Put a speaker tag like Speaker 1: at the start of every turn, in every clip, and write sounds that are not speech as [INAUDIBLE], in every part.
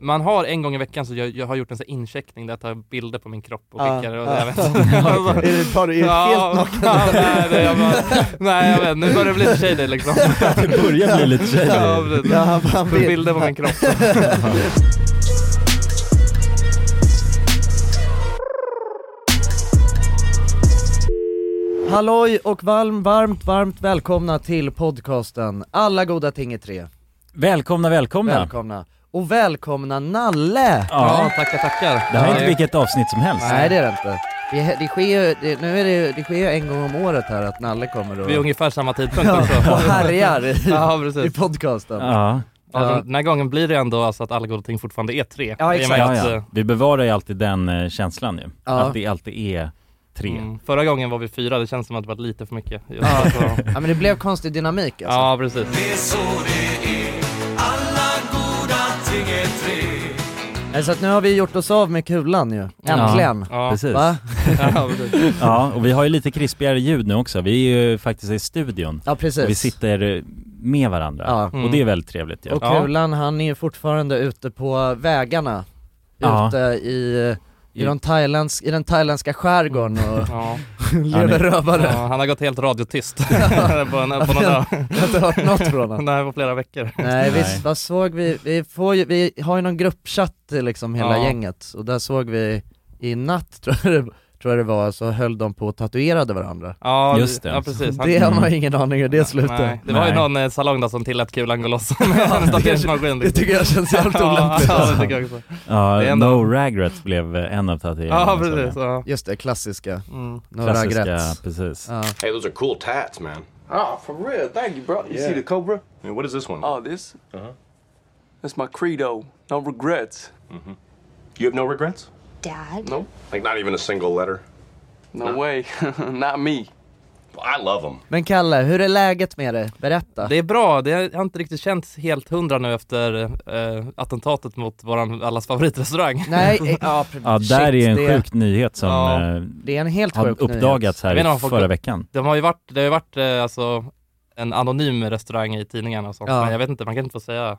Speaker 1: man har en gång i veckan så jag, jag har gjort en sån här incheckning där jag tar bilder på min kropp och
Speaker 2: Ja,
Speaker 1: skickar och
Speaker 2: ja. [LAUGHS]
Speaker 1: jag vet
Speaker 2: Är det, har du, är det helt naken?
Speaker 1: ja, nej, nej, jag bara, nej jag vet, nu börjar det bli lite
Speaker 2: [LAUGHS]
Speaker 1: shady liksom.
Speaker 3: [LAUGHS] Det börjar bli lite shady.
Speaker 1: Ja, precis.
Speaker 2: Ja, han- han
Speaker 1: Får
Speaker 2: vill-
Speaker 1: bilder på min kropp.
Speaker 2: Halloj och varm, varmt, varmt välkomna till podcasten Alla goda ting är tre.
Speaker 3: Välkomna, välkomna.
Speaker 2: Välkomna. Och välkomna Nalle!
Speaker 1: Ja,
Speaker 3: Ja,
Speaker 1: tackar tackar.
Speaker 3: det här är inte
Speaker 1: Nej.
Speaker 3: vilket avsnitt som helst.
Speaker 2: Nej det är det inte. Det, det sker ju, det, nu är det, det sker ju en gång om året här att Nalle kommer och,
Speaker 1: Vid ungefär samma tidpunkt
Speaker 2: ja,
Speaker 1: också.
Speaker 2: och härjar i,
Speaker 1: Ja
Speaker 2: i
Speaker 1: precis.
Speaker 2: podcasten.
Speaker 3: Ja,
Speaker 1: Ja, den- den här gången blir det ändå alltså att alla goda ting fortfarande är tre.
Speaker 2: Ja,
Speaker 1: I och
Speaker 2: exakt.
Speaker 1: med
Speaker 3: ja,
Speaker 1: att, eh,
Speaker 3: ja. Vi bevarar ju alltid den eh, känslan ju.
Speaker 2: Ja.
Speaker 3: Att det alltid är tre.
Speaker 1: Mm. Förra gången var vi fyra, det känns som att det var lite för mycket. Just alltså.
Speaker 2: Ja men det blev konstig dynamik alltså.
Speaker 1: Ja precis.
Speaker 2: Nej, Så att nu har vi gjort oss av med kulan ju. Äntligen.
Speaker 1: Ja,
Speaker 3: Precis.
Speaker 2: Va?
Speaker 1: ja, precis.
Speaker 3: Ja, och vi har ju lite krispigare ljud nu också. Vi är ju faktiskt i studion.
Speaker 2: Ja precis.
Speaker 3: Och vi sitter eh, med varandra.
Speaker 2: Ja.
Speaker 1: Mm.
Speaker 3: Och det är väldigt trevligt ju.
Speaker 2: Och
Speaker 1: Ja.
Speaker 2: Kulan han är ju fortfarande ute på vägarna,
Speaker 3: Ja.
Speaker 2: ute i, i, de thailändsk, i den thailändska skärgården och
Speaker 1: Ja.
Speaker 2: [LAUGHS] lever rövare.
Speaker 1: Ja, han har gått helt radiotyst på, en, på någon dag.
Speaker 2: Jag har inte hört något från
Speaker 1: [LAUGHS]
Speaker 2: honom.
Speaker 1: Nej, på flera veckor.
Speaker 2: Nej visst,
Speaker 3: Nej.
Speaker 2: vad såg vi, vi, får ju, vi har ju någon gruppchatt eh, liksom hela
Speaker 1: Ja.
Speaker 2: gänget, och där såg vi i natt [LAUGHS] tror jag, det- tror jag det var, så höll de på och tatuerade varandra.
Speaker 1: Ja,
Speaker 3: Just det.
Speaker 1: Ja, precis. Han-
Speaker 2: Det har man
Speaker 3: Mm.
Speaker 2: ju ingen aning hur det slutar.
Speaker 1: Nej. Det var ju
Speaker 3: Nej.
Speaker 1: någon eh, salong där som tillät kulan gå loss med en tatueringsmaskin.
Speaker 2: Det tycker jag känns jävligt
Speaker 1: [LAUGHS] ja,
Speaker 2: olämpligt.
Speaker 1: ja, det tycker jag också.
Speaker 3: Ja,
Speaker 1: Det är ändå-
Speaker 3: No Ragrets blev eh, en av tatueringarna.
Speaker 1: Ja,
Speaker 3: såg jag.
Speaker 1: precis. Ja.
Speaker 2: Just det, klassiska.
Speaker 1: Mm.
Speaker 2: Några
Speaker 3: Klassiska,
Speaker 2: grätt.
Speaker 3: precis.
Speaker 2: Ja.
Speaker 4: Hey, those are cool tats, man.
Speaker 5: [LAUGHS] Oh, for real. Thank you, bro. You see the Cobra?
Speaker 4: Yeah, What is this one?
Speaker 5: Oh, this? Uh-huh. That's my credo. No regrets.
Speaker 4: You have no regrets?
Speaker 6: Dad?
Speaker 5: Nope.
Speaker 4: Like, not even a single letter?
Speaker 5: No way. [LAUGHS] Not me.
Speaker 4: I love them.
Speaker 2: Men Kalle, hur är läget med dig? Berätta.
Speaker 1: Det är bra, det har inte riktigt känts helt hundra nu efter eh, attentatet mot våran allas favoritrestaurang.
Speaker 2: Nej, eh, ja, pre-
Speaker 3: Ja, där
Speaker 2: shit,
Speaker 3: är en
Speaker 2: det,
Speaker 3: sjuk nyhet som
Speaker 1: Ja.
Speaker 3: eh,
Speaker 2: Det är en helt
Speaker 3: har
Speaker 2: sjuk nyhet.
Speaker 3: uppdagats
Speaker 1: Jag menar,
Speaker 3: här i
Speaker 1: folk-
Speaker 3: förra veckan.
Speaker 1: De har ju varit, det har ju varit eh, alltså en anonym restaurang i tidningarna och sånt,
Speaker 2: Ja.
Speaker 1: men jag vet inte, man kan inte få säga,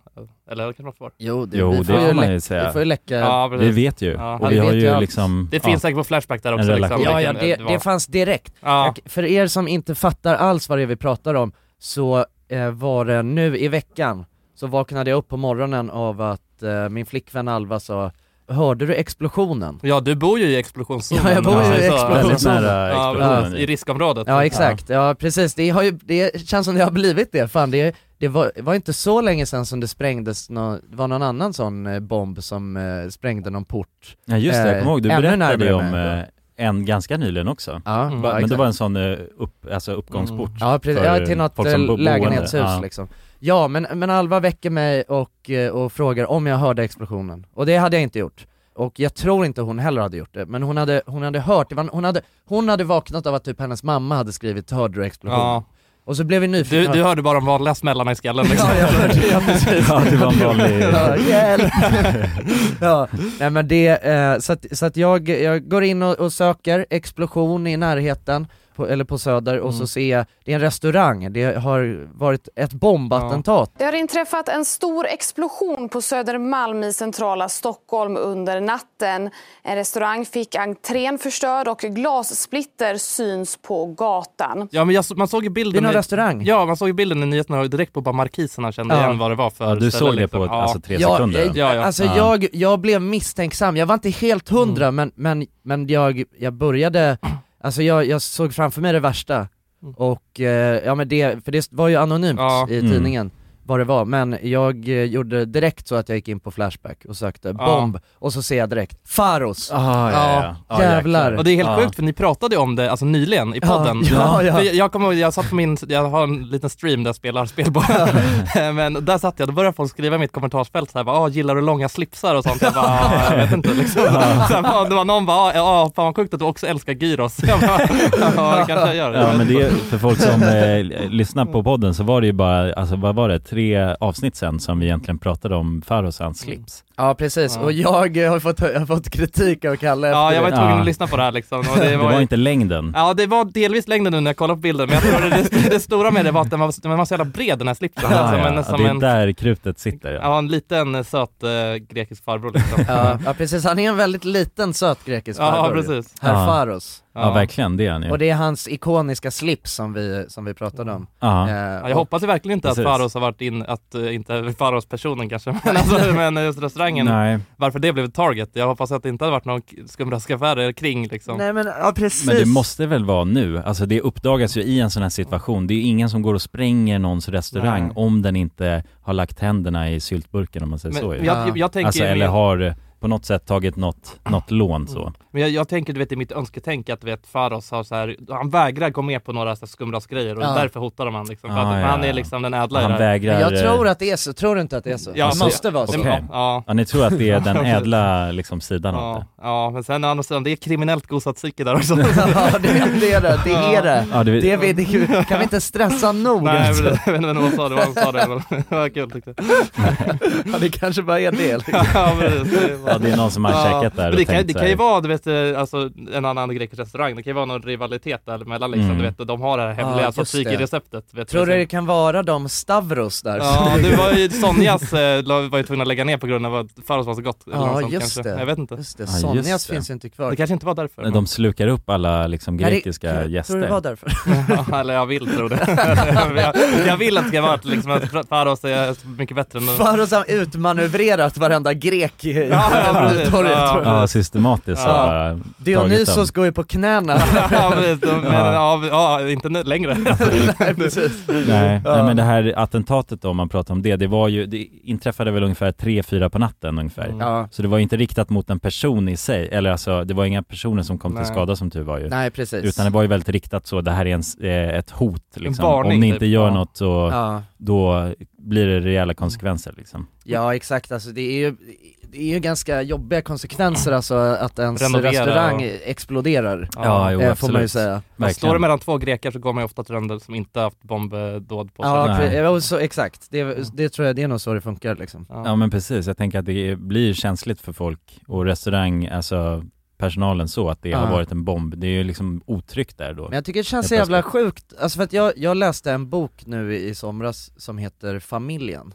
Speaker 1: eller det kanske man får.
Speaker 2: Jo, det,
Speaker 3: Jo,
Speaker 2: vi
Speaker 3: det
Speaker 2: får
Speaker 3: får man
Speaker 2: läcka-
Speaker 3: ju säga.
Speaker 2: Vi får ju läcka. Ja,
Speaker 1: Ja, precis.
Speaker 3: Vi vet ju.
Speaker 1: Ja,
Speaker 3: och
Speaker 2: vi
Speaker 3: vi har
Speaker 2: vet ju
Speaker 3: ju
Speaker 2: allt.
Speaker 3: liksom...
Speaker 1: Det finns säkert på Flashback där också.
Speaker 3: En
Speaker 1: Liksom,
Speaker 3: relation.
Speaker 2: ja,
Speaker 1: vilken-
Speaker 2: det,
Speaker 1: var.
Speaker 2: det fanns direkt.
Speaker 1: ja.
Speaker 2: Och för er som inte fattar alls vad det är vi pratar om, så eh, var det nu i veckan, så vaknade jag upp på morgonen av att eh, min flickvän Alva sa Hörde du explosionen?
Speaker 1: ja, du bor ju i explosionszonen.
Speaker 2: Ja, jag bor ju i
Speaker 1: precis, så.
Speaker 3: Väldigt
Speaker 2: explosionen.
Speaker 3: nära
Speaker 1: Ja,
Speaker 3: explosionen.
Speaker 1: precis, I riskområdet. typ.
Speaker 2: Ja exakt, ja, precis, det, har ju, det känns som det har blivit det, fan det, det var, var inte så länge sedan som det sprängdes, nå, det var någon annan sån eh, bomb som eh, sprängde någon port
Speaker 3: Ja just det, jag kommer ihåg, du
Speaker 2: Eh, ännu
Speaker 3: berättade ju
Speaker 2: närmare
Speaker 3: om
Speaker 2: mig.
Speaker 3: eh, en ganska nyligen också.
Speaker 2: Ja,
Speaker 1: Mm.
Speaker 2: ja,
Speaker 3: Men det
Speaker 2: exakt. Mm.
Speaker 3: var en sån eh, upp, alltså uppgångsport.
Speaker 2: Ja precis,
Speaker 3: för
Speaker 2: ja, till något
Speaker 3: folk
Speaker 2: eh,
Speaker 3: som bo- boende.
Speaker 2: lägenhetshus
Speaker 3: Ja.
Speaker 2: liksom Ja men, men Alva väcker mig och, eh, och frågar om jag hörde explosionen, och det hade jag inte gjort och jag tror inte hon heller hade gjort det, men hon hade, hon hade hört, det var, hon, hade, hon hade vaknat av att typ hennes mamma hade skrivit 'Hörde du explosionen?'
Speaker 1: Ja.
Speaker 2: Och så blev vi
Speaker 1: Du,
Speaker 2: nyfikna
Speaker 1: du hörde bara de vanliga smällarna i skallen liksom.
Speaker 2: Ja, jag hörde, ja, precis.
Speaker 3: Ja, det var en vanlig...
Speaker 2: [LAUGHS] Ja, hjälp! ja, nej men det, eh, så att, så att jag, jag går in och, och söker explosion i närheten, på, eller på söder, och
Speaker 3: Mm.
Speaker 2: så ser jag, det är en restaurang, det har varit ett bombattentat.
Speaker 7: Det har inträffat en stor explosion på Södermalm i centrala Stockholm under natten. En restaurang fick entrén förstörd och glassplitter syns på gatan.
Speaker 1: [LAUGHS] Ja, men jag, så- man såg ju
Speaker 2: Det är
Speaker 1: bilden.
Speaker 2: någon
Speaker 1: i-
Speaker 2: restaurang.
Speaker 1: Ja, man såg ju bilden i nyheterna och direkt på bara markiserna kände
Speaker 2: Ja.
Speaker 1: igen vad det var för
Speaker 3: Ja, du
Speaker 1: ställe,
Speaker 3: såg det
Speaker 1: liksom.
Speaker 3: på
Speaker 1: ja.
Speaker 3: alltså, tre
Speaker 2: Ja,
Speaker 3: sekunder.
Speaker 2: eh,
Speaker 1: Ja, Mm. ja.
Speaker 2: Alltså
Speaker 3: Ja.
Speaker 2: Jag, jag blev misstänksam, jag var inte helt hundra men, men, men jag, jag började, alltså jag, jag såg framför mig det värsta och, eh, ja men det, för det var ju anonymt
Speaker 1: Mm. Ja.
Speaker 2: i
Speaker 3: Mm.
Speaker 2: tidningen vad det var, men jag eh, gjorde direkt så att jag gick in på Flashback och sökte
Speaker 1: Ja.
Speaker 2: bomb och så ser jag direkt Faros!
Speaker 3: Ah, ja, ja.
Speaker 2: Ja, jävlar.
Speaker 1: Och det är helt
Speaker 3: Ja.
Speaker 1: sjukt för ni pratade ju om det alltså nyligen i
Speaker 2: Ja,
Speaker 1: podden.
Speaker 2: ja, ja.
Speaker 1: För jag, jag kommer ihåg, jag satt på min, jag har en liten stream där jag spelar spel bara. [LAUGHS] Men där satt jag, då började folk skriva i mitt kommentarsfält såhär, ah, gillar du långa slipsar och sånt? Jag bara, ah, jag vet inte liksom. [LAUGHS] Sen, var- det var någon bara, ah, ja fan vad sjukt att du också älskar gyros. [LAUGHS] Jag bara, ja det kanske jag gör.
Speaker 3: Ja men det, för folk som eh, lyssnar på podden så var det ju bara, alltså vad var det, tre avsnitt sen som vi egentligen pratade om Faros och hans slips.
Speaker 2: Ja Ja precis,
Speaker 1: Ja.
Speaker 2: och jag eh, har fått, jag har fått kritik av Kalle
Speaker 1: Ja,
Speaker 2: efter
Speaker 1: jag var
Speaker 2: det.
Speaker 1: ju tvungen
Speaker 8: Ja.
Speaker 1: att lyssna på det här liksom. Och
Speaker 8: Det
Speaker 1: det var
Speaker 8: var
Speaker 1: ju...
Speaker 8: inte längden.
Speaker 1: Ja, det var delvis längden nu när jag kollade på bilden, men jag tror det, det, det stora med det var att den var, den var så jävla bred den här slipsen.
Speaker 8: Ah,
Speaker 1: som
Speaker 8: ja.
Speaker 1: en,
Speaker 8: Ja,
Speaker 1: som
Speaker 8: det är
Speaker 1: en,
Speaker 8: där krutet sitter ja.
Speaker 1: ja, en liten eh, söt eh, grekisk farbror
Speaker 8: [LAUGHS]
Speaker 1: liksom.
Speaker 2: Ja, ja precis, han är en väldigt liten söt grekisk
Speaker 1: ja,
Speaker 2: farbror.
Speaker 1: precis.
Speaker 2: Herr
Speaker 8: Ja.
Speaker 2: Faros.
Speaker 8: Ja, verkligen, det är han ju.
Speaker 2: Och det är hans ikoniska slips som vi, som vi pratade om.
Speaker 8: Ja.
Speaker 1: Ja, jag hoppas ju verkligen inte att
Speaker 8: Precis.
Speaker 1: Faros har varit in, att eh, inte Faros-personen kanske, men, alltså, men just restaurangen,
Speaker 8: Nej,
Speaker 1: varför det blev ett target. Jag hoppas att det inte hade varit någon skumraskaffärer kring liksom.
Speaker 2: Nej men, ja precis.
Speaker 8: men det måste väl vara nu. Alltså det uppdagas ju i en sån här situation. Det är ju ingen som går och spränger någons restaurang
Speaker 1: Nej.
Speaker 8: om den inte har lagt händerna i syltburken om man säger
Speaker 1: Men
Speaker 8: så. ju.
Speaker 1: jag, jag, jag tänker,
Speaker 8: Alltså
Speaker 1: ju-
Speaker 8: eller har på något sätt tagit något, något lån så.
Speaker 1: men jag, jag tänker du vet i mitt önsketänk att du vet Faros har så här, han vägrar gå med på några så här skumraskgrejer och
Speaker 2: Ja.
Speaker 1: därför hotar de han liksom. För
Speaker 8: Ah,
Speaker 1: att
Speaker 8: ja,
Speaker 1: han är
Speaker 8: ja.
Speaker 1: liksom den ädla i det
Speaker 8: Han
Speaker 1: här.
Speaker 8: vägrar...
Speaker 2: jag tror
Speaker 8: eh,
Speaker 2: att det är så, tror du inte att det är så?
Speaker 1: Ja,
Speaker 2: det
Speaker 1: så-
Speaker 2: måste vara så.
Speaker 1: Nej,
Speaker 8: Okej.
Speaker 1: men, Ja.
Speaker 8: Ja, ni tror att
Speaker 1: [LAUGHS]
Speaker 8: det är den ädla liksom, sidan av
Speaker 1: Ja,
Speaker 8: det?
Speaker 1: ja, men sen å andra sidan, det är kriminellt gosat psyke där också.
Speaker 2: Ja det, det är det, det är det.
Speaker 8: Ja, det,
Speaker 2: Det, vi, det kan vi inte stressa nog
Speaker 1: Nej, [LAUGHS]
Speaker 2: alltså.
Speaker 1: men det- jag vet inte vad han sa, det var han sa det. men Det var kul tyckte jag.
Speaker 2: Ja, det kanske bara är det. liksom.
Speaker 1: Ja, precis. Det var-
Speaker 8: ja, det är någon som har käkat där
Speaker 1: men
Speaker 8: och
Speaker 1: det, kan,
Speaker 8: tänkt
Speaker 1: det
Speaker 8: så
Speaker 1: kan
Speaker 8: här,
Speaker 1: ju vara du vet, eh, alltså, en annan grekisk restaurang, det kan ju vara någon rivalitet där mellan liksom,
Speaker 8: Mm.
Speaker 1: du vet, och de har det här hemliga
Speaker 2: Ja,
Speaker 1: alltså,
Speaker 2: just det.
Speaker 1: psykreceptet. Vet
Speaker 2: Tror du det
Speaker 1: det?
Speaker 2: kan vara de Stavros där?
Speaker 1: Ja, det var ju Sonjas, eh, la- var ju tvungna att lägga ner på grund av att Faros var så gott. eller
Speaker 2: Ja,
Speaker 1: något sånt,
Speaker 2: just
Speaker 1: kanske.
Speaker 2: det.
Speaker 1: Jag vet inte.
Speaker 2: Just det,
Speaker 8: Ja, just
Speaker 2: Sonjas
Speaker 8: det.
Speaker 2: finns ju inte kvar.
Speaker 1: Det kanske inte var därför.
Speaker 8: De slukar upp alla liksom,
Speaker 2: Nej, det-
Speaker 8: grekiska
Speaker 2: tror-
Speaker 8: gäster.
Speaker 2: Tror du det var därför?
Speaker 1: [LAUGHS] Ja, eller jag vill tro det. [LAUGHS] jag, jag vill att det ska vara att, liksom, att Faros är mycket bättre än...
Speaker 2: Faros har utmanövrerat varenda grek i
Speaker 1: ja, precis.
Speaker 2: torget
Speaker 1: Ja.
Speaker 2: tror jag.
Speaker 8: Ja, systematiskt
Speaker 1: Ja.
Speaker 8: har bara tagit dem.
Speaker 2: Dionysos går ju på knäna.
Speaker 1: [LAUGHS] ja, precis. De- men, ja. Ja, inte nu, längre.
Speaker 2: Nej, precis.
Speaker 8: Nej.
Speaker 2: Ja.
Speaker 8: Nej, men det här attentatet då, om man pratar om det, det var ju, det inträffade väl ungefär 3-4 på natten ungefär.
Speaker 1: Mm.
Speaker 2: Ja.
Speaker 8: Så det var ju inte riktat mot en person i sig, eller alltså det var inga personer som kom
Speaker 1: Nej.
Speaker 8: till skada som tur var ju.
Speaker 2: Nej precis.
Speaker 8: typ. Utan det var ju väldigt riktat så, det här är en, s- eh, ett hot liksom.
Speaker 1: varning,
Speaker 8: Om ni inte
Speaker 1: typ.
Speaker 8: gör
Speaker 1: Ja.
Speaker 8: något så
Speaker 2: ja.
Speaker 8: då blir det rejäla konsekvenser liksom.
Speaker 2: ja exakt, alltså, det, är ju, det är ju ganska jobbiga konsekvenser alltså, att ens
Speaker 1: Renovera
Speaker 2: restaurang
Speaker 1: och-
Speaker 2: exploderar.
Speaker 8: Ja, jo,
Speaker 2: eh, får
Speaker 8: absolut.
Speaker 2: man ju säga.
Speaker 1: Men
Speaker 8: Verkligen.
Speaker 1: Står det mellan två greker så går man ju ofta till den som inte haft bombdåd på sig.
Speaker 2: Ja,
Speaker 8: Nej.
Speaker 2: pre- ja, och så, exakt, det, det tror jag det är nog så det funkar liksom.
Speaker 8: Ja men precis, jag tänker att det blir känsligt för folk och restaurang, alltså personalen så att det
Speaker 2: Ja.
Speaker 8: har varit en bomb. Det är ju liksom otryggt där då.
Speaker 2: Men jag tycker det känns så
Speaker 8: Helt
Speaker 2: jävla sjukt, alltså för att jag, jag läste en bok nu i, i somras som heter Familjen.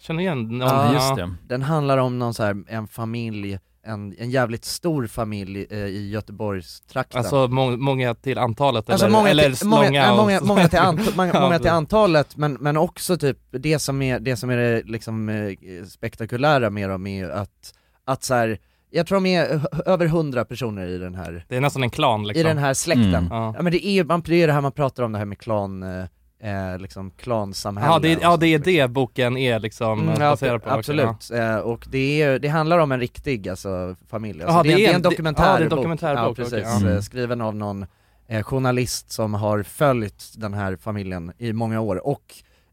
Speaker 1: Känner igen någon.
Speaker 2: Ja,
Speaker 8: Just det.
Speaker 2: Den handlar om någon så här, en familj, en, en jävligt stor familj eh, i Göteborgstrakten.
Speaker 1: Alltså må många till antalet
Speaker 2: Alltså
Speaker 1: eller,
Speaker 2: många,
Speaker 1: eller
Speaker 2: till, många,
Speaker 1: långa
Speaker 2: ja,
Speaker 1: och-
Speaker 2: många, många, till ant, många,
Speaker 1: Ja,
Speaker 2: många till
Speaker 1: precis.
Speaker 2: antalet men, men också typ det som är det, som är det liksom, eh, spektakulära med dem är ju att, att så här, jag tror de är ö- över hundra personer i den här,
Speaker 1: [LAUGHS] Det är nästan en klan liksom.
Speaker 2: i den här släkten.
Speaker 8: Mm.
Speaker 1: Ja.
Speaker 2: Ja men det är ju, man, det är det här man pratar om det här med klan, eh, eh, liksom klansamhällen.
Speaker 1: Ja, det, är- ja, det är det boken är liksom
Speaker 2: Mm,
Speaker 1: eh,
Speaker 2: ja,
Speaker 1: baserad på.
Speaker 2: absolut,
Speaker 1: Ja.
Speaker 2: Eh, och det, är, ju- det handlar om en riktig alltså, familj, alltså,
Speaker 1: Ja,
Speaker 2: det, är, det är en dokumentärbok,
Speaker 1: ja, det är en dokumentärbok,
Speaker 2: ja, precis,
Speaker 1: okej,
Speaker 8: ja.
Speaker 2: Eh,
Speaker 8: Mm.
Speaker 2: skriven av någon eh, journalist som har följt den här familjen i många år och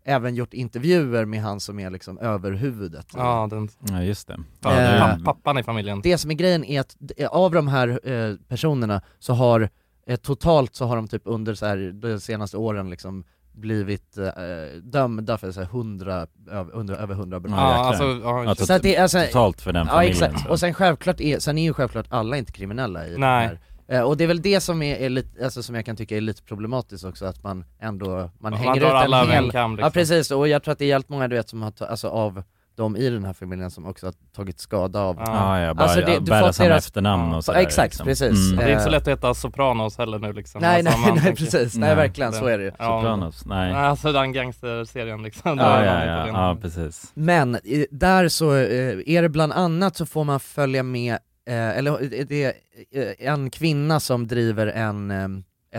Speaker 2: även gjort intervjuer med han som är liksom överhuvudet.
Speaker 1: Ja, den,
Speaker 8: Ja just det.
Speaker 1: ja,
Speaker 2: Eh,
Speaker 1: det är
Speaker 2: pappa.
Speaker 1: papp- pappan i familjen.
Speaker 2: Det som är grejen är att d- av de här eh, personerna så har eh, totalt så har de typ under så här, de senaste åren liksom blivit eh, dömda för så här, 100, över, under, över 100 brott.
Speaker 1: Ja,
Speaker 8: Ja, jäklar.
Speaker 1: alltså, ja,
Speaker 8: Ja,
Speaker 2: Så att det, är alltså,
Speaker 8: Totalt för den
Speaker 2: Ja
Speaker 8: familjen.
Speaker 2: exakt,
Speaker 8: så.
Speaker 2: och sen självklart är, sen är ju självklart alla inte kriminella i
Speaker 1: Nej.
Speaker 2: det här. Eh, Och det är väl det som är, är lite, alltså som jag kan tycka är lite problematiskt också, att man ändå, man
Speaker 1: man
Speaker 2: hänger
Speaker 1: drar
Speaker 2: ut en
Speaker 1: alla över en
Speaker 2: hel...
Speaker 1: kam liksom.
Speaker 2: Ja precis, och jag tror att det är jävligt många du vet som har, ta, alltså av de i den här familjen som också har tagit skada av
Speaker 1: Ja.
Speaker 8: Ja, ja, bara
Speaker 2: Alltså, det- du
Speaker 8: bära
Speaker 2: får
Speaker 8: samma
Speaker 2: deras-
Speaker 8: efternamn
Speaker 1: Ja,
Speaker 8: och sådär,
Speaker 2: exakt,
Speaker 3: liksom.
Speaker 2: precis.
Speaker 1: Det
Speaker 8: Mm.
Speaker 1: är inte så lätt att heta Sopranos heller nu liksom.
Speaker 2: Eh. Nej nej
Speaker 1: Alltså,
Speaker 2: [LAUGHS]
Speaker 1: om
Speaker 2: nej,
Speaker 1: man tänker-
Speaker 2: precis, nej,
Speaker 8: Nej.
Speaker 2: verkligen så är det ju.
Speaker 1: Ja,
Speaker 8: Sopranos, nej. Ja,
Speaker 1: Alltså den gangsterserien liksom.
Speaker 8: ja,
Speaker 1: Där
Speaker 8: ja,
Speaker 1: har man
Speaker 8: ja,
Speaker 1: inte den.
Speaker 8: precis.
Speaker 2: Men i- där så eh, är det bland annat så får man följa med, eh, eller eh, det är eh, en kvinna som driver en, eh,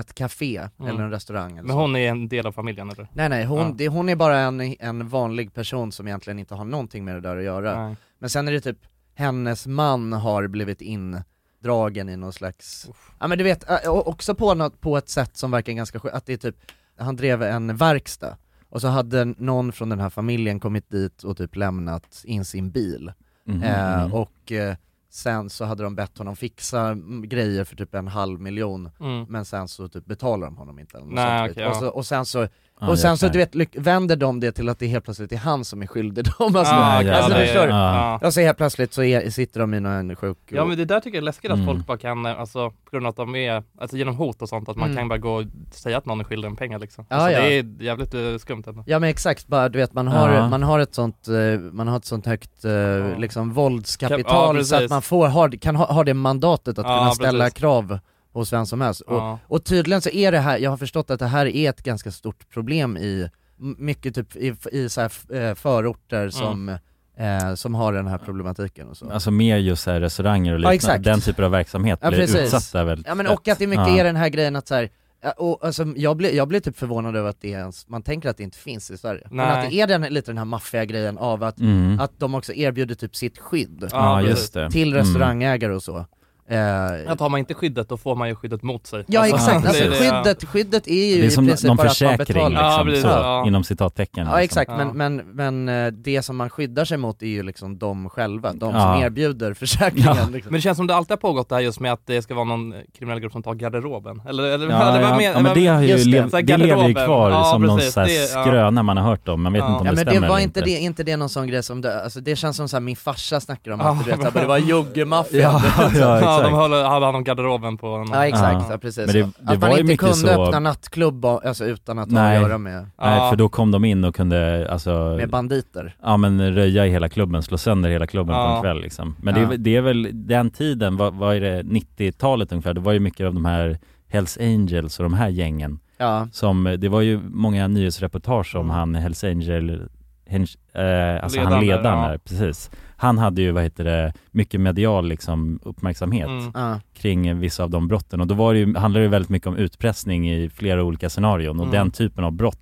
Speaker 2: ett café
Speaker 1: Mm.
Speaker 2: eller en restaurang eller
Speaker 1: Men
Speaker 2: så.
Speaker 1: hon är en del av familjen eller?
Speaker 2: Nej nej, hon,
Speaker 1: Ja.
Speaker 2: det, hon är bara en, en vanlig person som egentligen inte har någonting med det där att göra.
Speaker 1: Nej.
Speaker 2: Men sen är det typ, hennes man har blivit indragen i någon slags, ja men du vet, ä, och också på, något, på ett sätt som verkar ganska sjukt, att det är typ, han drev en verkstad och så hade någon från den här familjen kommit dit och typ lämnat in sin bil.
Speaker 3: Mm.
Speaker 8: Mhm,
Speaker 1: Mm.
Speaker 2: Eh,
Speaker 8: mhm.
Speaker 2: och eh, sen så hade de bett honom fixa mm, grejer för typ en halv miljon
Speaker 1: Mm.
Speaker 2: men sen så typ betalar de honom inte eller något
Speaker 1: Nej,
Speaker 2: sånt skit.
Speaker 1: okej,
Speaker 2: och,
Speaker 1: ja.
Speaker 2: så, och sen så
Speaker 3: Ja,
Speaker 2: och sen så
Speaker 3: jäklar.
Speaker 2: du vet, lyck- vänder de det till att det helt plötsligt är han som är skyldig [LAUGHS] dem. Alltså,
Speaker 3: Ah, ja,
Speaker 2: alltså
Speaker 3: det-
Speaker 2: förstår du?
Speaker 1: ja.
Speaker 2: Jag säger helt plötsligt så är, sitter de i någon sjuk...
Speaker 1: Ja men det där tycker jag är läskigt att
Speaker 3: Mm.
Speaker 1: folk bara kan, eh, alltså på grund av att de är, alltså genom hot och sånt, att man
Speaker 2: Mm.
Speaker 1: kan bara gå och säga att någon är skyldig en pengar liksom.
Speaker 2: Ja,
Speaker 1: alltså,
Speaker 2: ja.
Speaker 1: Det är jävligt eh, skumt ändå.
Speaker 2: Ja men exakt, bara, du vet man har,
Speaker 3: Ja.
Speaker 2: man har ett sånt, eh, man har ett sånt högt eh, liksom
Speaker 1: Ja,
Speaker 2: våldskapital
Speaker 1: precis.
Speaker 2: så att man får, har, kan ha, har det mandatet att
Speaker 1: Ja,
Speaker 2: kunna ställa
Speaker 1: precis.
Speaker 2: krav hos vem som helst. Och,
Speaker 1: Ja.
Speaker 2: och tydligen så är det här, jag har förstått att det här är ett ganska stort problem i m- mycket typ i, i så här, f- eh, förorter som, eh, som har den här problematiken och så.
Speaker 3: Alltså mer just så här restauranger och
Speaker 2: Ja,
Speaker 3: liknande,
Speaker 2: exakt.
Speaker 3: den typen av verksamhet
Speaker 2: Ja,
Speaker 3: blir
Speaker 2: precis.
Speaker 3: utsatta väldigt
Speaker 2: Ja men och att det mycket
Speaker 3: Ja.
Speaker 2: är den här grejen att så här, ja, och, alltså, jag, blir, jag blir typ förvånad över att det ens, man tänker att det inte finns i Sverige. Men
Speaker 1: Nej.
Speaker 2: att det är den, lite den här maffiga grejen av att,
Speaker 3: Mm.
Speaker 2: att de också erbjuder typ sitt skydd
Speaker 3: Ja,
Speaker 1: Ja,
Speaker 3: just det.
Speaker 2: Alltså, till
Speaker 3: Mm.
Speaker 2: restauringägare och så. Eh,
Speaker 1: Att har man inte skyddet då får man ju skyddet mot sig.
Speaker 2: ja
Speaker 1: Alltså,
Speaker 2: exakt,
Speaker 1: det-
Speaker 2: alltså,
Speaker 1: det-
Speaker 2: skyddet, skyddet är ju
Speaker 3: Det är som
Speaker 2: i princip
Speaker 3: någon
Speaker 2: bara att man
Speaker 3: försäkring
Speaker 2: betalar.
Speaker 3: liksom,
Speaker 1: Ja, precis,
Speaker 3: så,
Speaker 1: ja.
Speaker 3: inom citattecken liksom.
Speaker 2: Ja exakt,
Speaker 1: Ja.
Speaker 2: men, men, men eh, det som man skyddar sig mot är ju liksom de själva, de som
Speaker 3: Ja.
Speaker 2: erbjuder försäkringen
Speaker 3: Ja.
Speaker 2: liksom.
Speaker 1: Men det känns som det alltid har pågått det här just med att det ska vara någon eh, kriminell grupp som tar garderoben. Eller, eller
Speaker 3: Ja,
Speaker 1: det var
Speaker 3: ja,
Speaker 1: mer-
Speaker 3: ja, men det, har ju
Speaker 2: just det,
Speaker 3: lev,
Speaker 1: så här
Speaker 3: det lever ju
Speaker 1: garderoben.
Speaker 3: kvar
Speaker 1: Ja,
Speaker 3: som någon
Speaker 1: precis,
Speaker 3: så här
Speaker 1: det- ja.
Speaker 3: skröna man har hört om, man vet
Speaker 1: Ja.
Speaker 3: inte om
Speaker 2: Ja
Speaker 3: det
Speaker 2: men
Speaker 3: stämmer
Speaker 2: det var
Speaker 3: eller
Speaker 2: inte det, inte det någon sån grej som, det, alltså det känns som såhär, min farsa snackar om
Speaker 1: Ja,
Speaker 2: att du
Speaker 3: [LAUGHS]
Speaker 2: vet,
Speaker 1: men-
Speaker 2: såhär, det var juggemaffian
Speaker 3: [LAUGHS] Ja, ja,
Speaker 1: ja, de
Speaker 3: exakt.
Speaker 1: höll, hade hand om garderoben på någon.
Speaker 2: Ja exakt,
Speaker 1: Ja.
Speaker 2: ja, precis.
Speaker 3: Men det- det
Speaker 2: att man
Speaker 3: var ju
Speaker 2: inte
Speaker 3: mycket
Speaker 2: kunde
Speaker 3: så-
Speaker 2: öppna nattklubb och- alltså, utan att
Speaker 3: Nej.
Speaker 2: ha att göra med,
Speaker 3: Nej, för då kom de in och kunde alltså,
Speaker 2: med banditer.
Speaker 3: ja men röja i hela klubben, slå sönder hela klubben på
Speaker 1: Ja.
Speaker 3: en kväll liksom. Men
Speaker 2: Ja.
Speaker 3: det, är- det är väl, den tiden, vad, vad är det, 90-talet ungefär, det var ju mycket av de här Hells Angels och de här gängen
Speaker 2: Ja.
Speaker 3: som, det var ju många nyhetsreportage
Speaker 1: Mm.
Speaker 3: om han Hells Angel, Henge, eh, alltså han
Speaker 1: Ledaren,
Speaker 3: ledaren
Speaker 1: ja.
Speaker 3: där, precis. Han hade ju, vad heter det, mycket medial liksom uppmärksamhet
Speaker 1: Mm.
Speaker 2: Ja.
Speaker 3: kring eh, vissa av de brotten och då var det ju, handlade det ju väldigt mycket om utpressning i flera olika scenarion och
Speaker 1: Mm.
Speaker 3: den typen av brott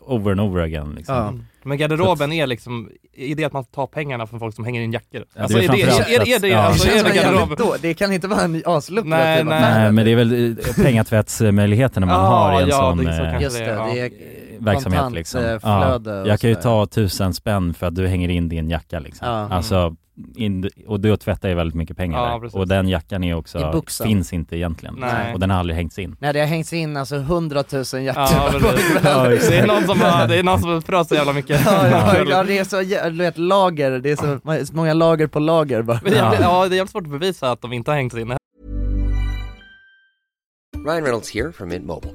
Speaker 3: over and over again liksom.
Speaker 2: Ja.
Speaker 1: Men garderoben är liksom, är det att man tar pengarna från folk som hänger i en jackor?
Speaker 3: Ja,
Speaker 1: Alltså
Speaker 3: det är
Speaker 1: är det,
Speaker 3: framförallt
Speaker 1: är, är, är det,
Speaker 3: att- ja.
Speaker 1: alltså, är
Speaker 2: Känns
Speaker 1: det
Speaker 2: väl jävligt
Speaker 1: garderoben?
Speaker 2: då, det kan inte vara en
Speaker 1: Nej,
Speaker 2: aslukrativ
Speaker 1: nej.
Speaker 3: Nej men det är väl eh, pengatvättsmöjligheterna man
Speaker 1: Ja,
Speaker 3: har i en
Speaker 1: ja,
Speaker 3: sån
Speaker 1: det är så
Speaker 3: eh,
Speaker 1: kanske.
Speaker 2: Just det,
Speaker 1: Ja.
Speaker 2: det är
Speaker 3: eh, verksamhet liksom.
Speaker 2: kontantflöde och
Speaker 3: jag kan ju
Speaker 2: sådär.
Speaker 3: ta tusen spänn för att du hänger in din jacka liksom.
Speaker 2: Ja.
Speaker 3: Alltså, in, och då tvättar jag väldigt mycket pengar
Speaker 1: Ja,
Speaker 3: där.
Speaker 1: precis.
Speaker 3: Och den jackan är
Speaker 2: I
Speaker 3: också,
Speaker 2: boxen.
Speaker 3: finns inte egentligen.
Speaker 1: Nej.
Speaker 3: Och den har aldrig hängts in.
Speaker 2: Nej det har hängts in alltså hundratusen jackor.
Speaker 1: Ja,
Speaker 2: [LAUGHS]
Speaker 1: precis.
Speaker 3: Ja, exakt.
Speaker 1: det är någon som har, det är någon som har frös så jävla mycket.
Speaker 2: Ja, ja, ja, det är så, jä- du vet, lager, det är så, så många lager på lager
Speaker 1: [LAUGHS]
Speaker 2: bara.
Speaker 1: Men det är jävligt- ja, det är jävligt svårt att bevisa att de inte har hängt in.
Speaker 6: Ryan Reynolds here from Mint Mobile.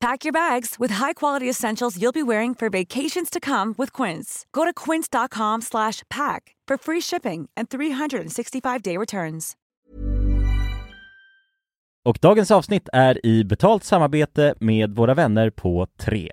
Speaker 9: Pack your bags with high-quality essentials you'll be wearing for vacations to come with Quince. Go to quince.com/pack slash pack for free shipping and 365-day returns.
Speaker 3: Och dagens avsnitt är i betalt samarbete med våra vänner på 3.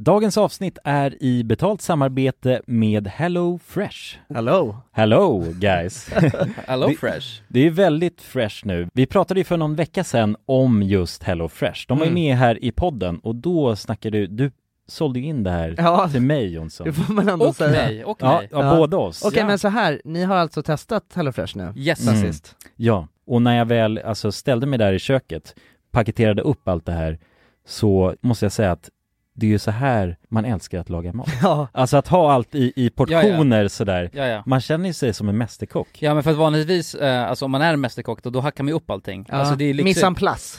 Speaker 8: Dagens avsnitt är i betalt samarbete med Hello Fresh.
Speaker 2: Hello!
Speaker 8: Hello guys!
Speaker 10: Hello
Speaker 8: Det-
Speaker 10: Fresh.
Speaker 8: Det är väldigt fresh nu. Vi pratade ju för någon vecka sedan om just Hello Fresh. De var ju
Speaker 2: Mm.
Speaker 8: med här i podden och då snackade du, du sålde ju in det här
Speaker 2: Ja.
Speaker 11: [LAUGHS]
Speaker 8: till mig Jonsson.
Speaker 2: Det får man ändå säga.
Speaker 8: ja, Ja, båda oss.
Speaker 11: Okej,
Speaker 8: ja.
Speaker 11: men så här, ni har alltså testat HelloFresh nu?
Speaker 8: Mm.
Speaker 11: Sen sist.
Speaker 8: Ja, och när jag väl alltså, ställde mig där i köket, paketerade upp allt det här, så måste jag säga att det är ju så här man älskar att laga mat.
Speaker 11: Ja.
Speaker 8: Alltså att ha allt i, i portioner
Speaker 10: Ja, ja.
Speaker 8: sådär.
Speaker 10: Ja, ja.
Speaker 8: Man känner ju sig som en mästerkock.
Speaker 10: Ja men för att vanligtvis, eh, alltså om man är en mästerkock då, då hackar man ju upp allting.
Speaker 11: Ja.
Speaker 10: Alltså det är
Speaker 11: Mise en place.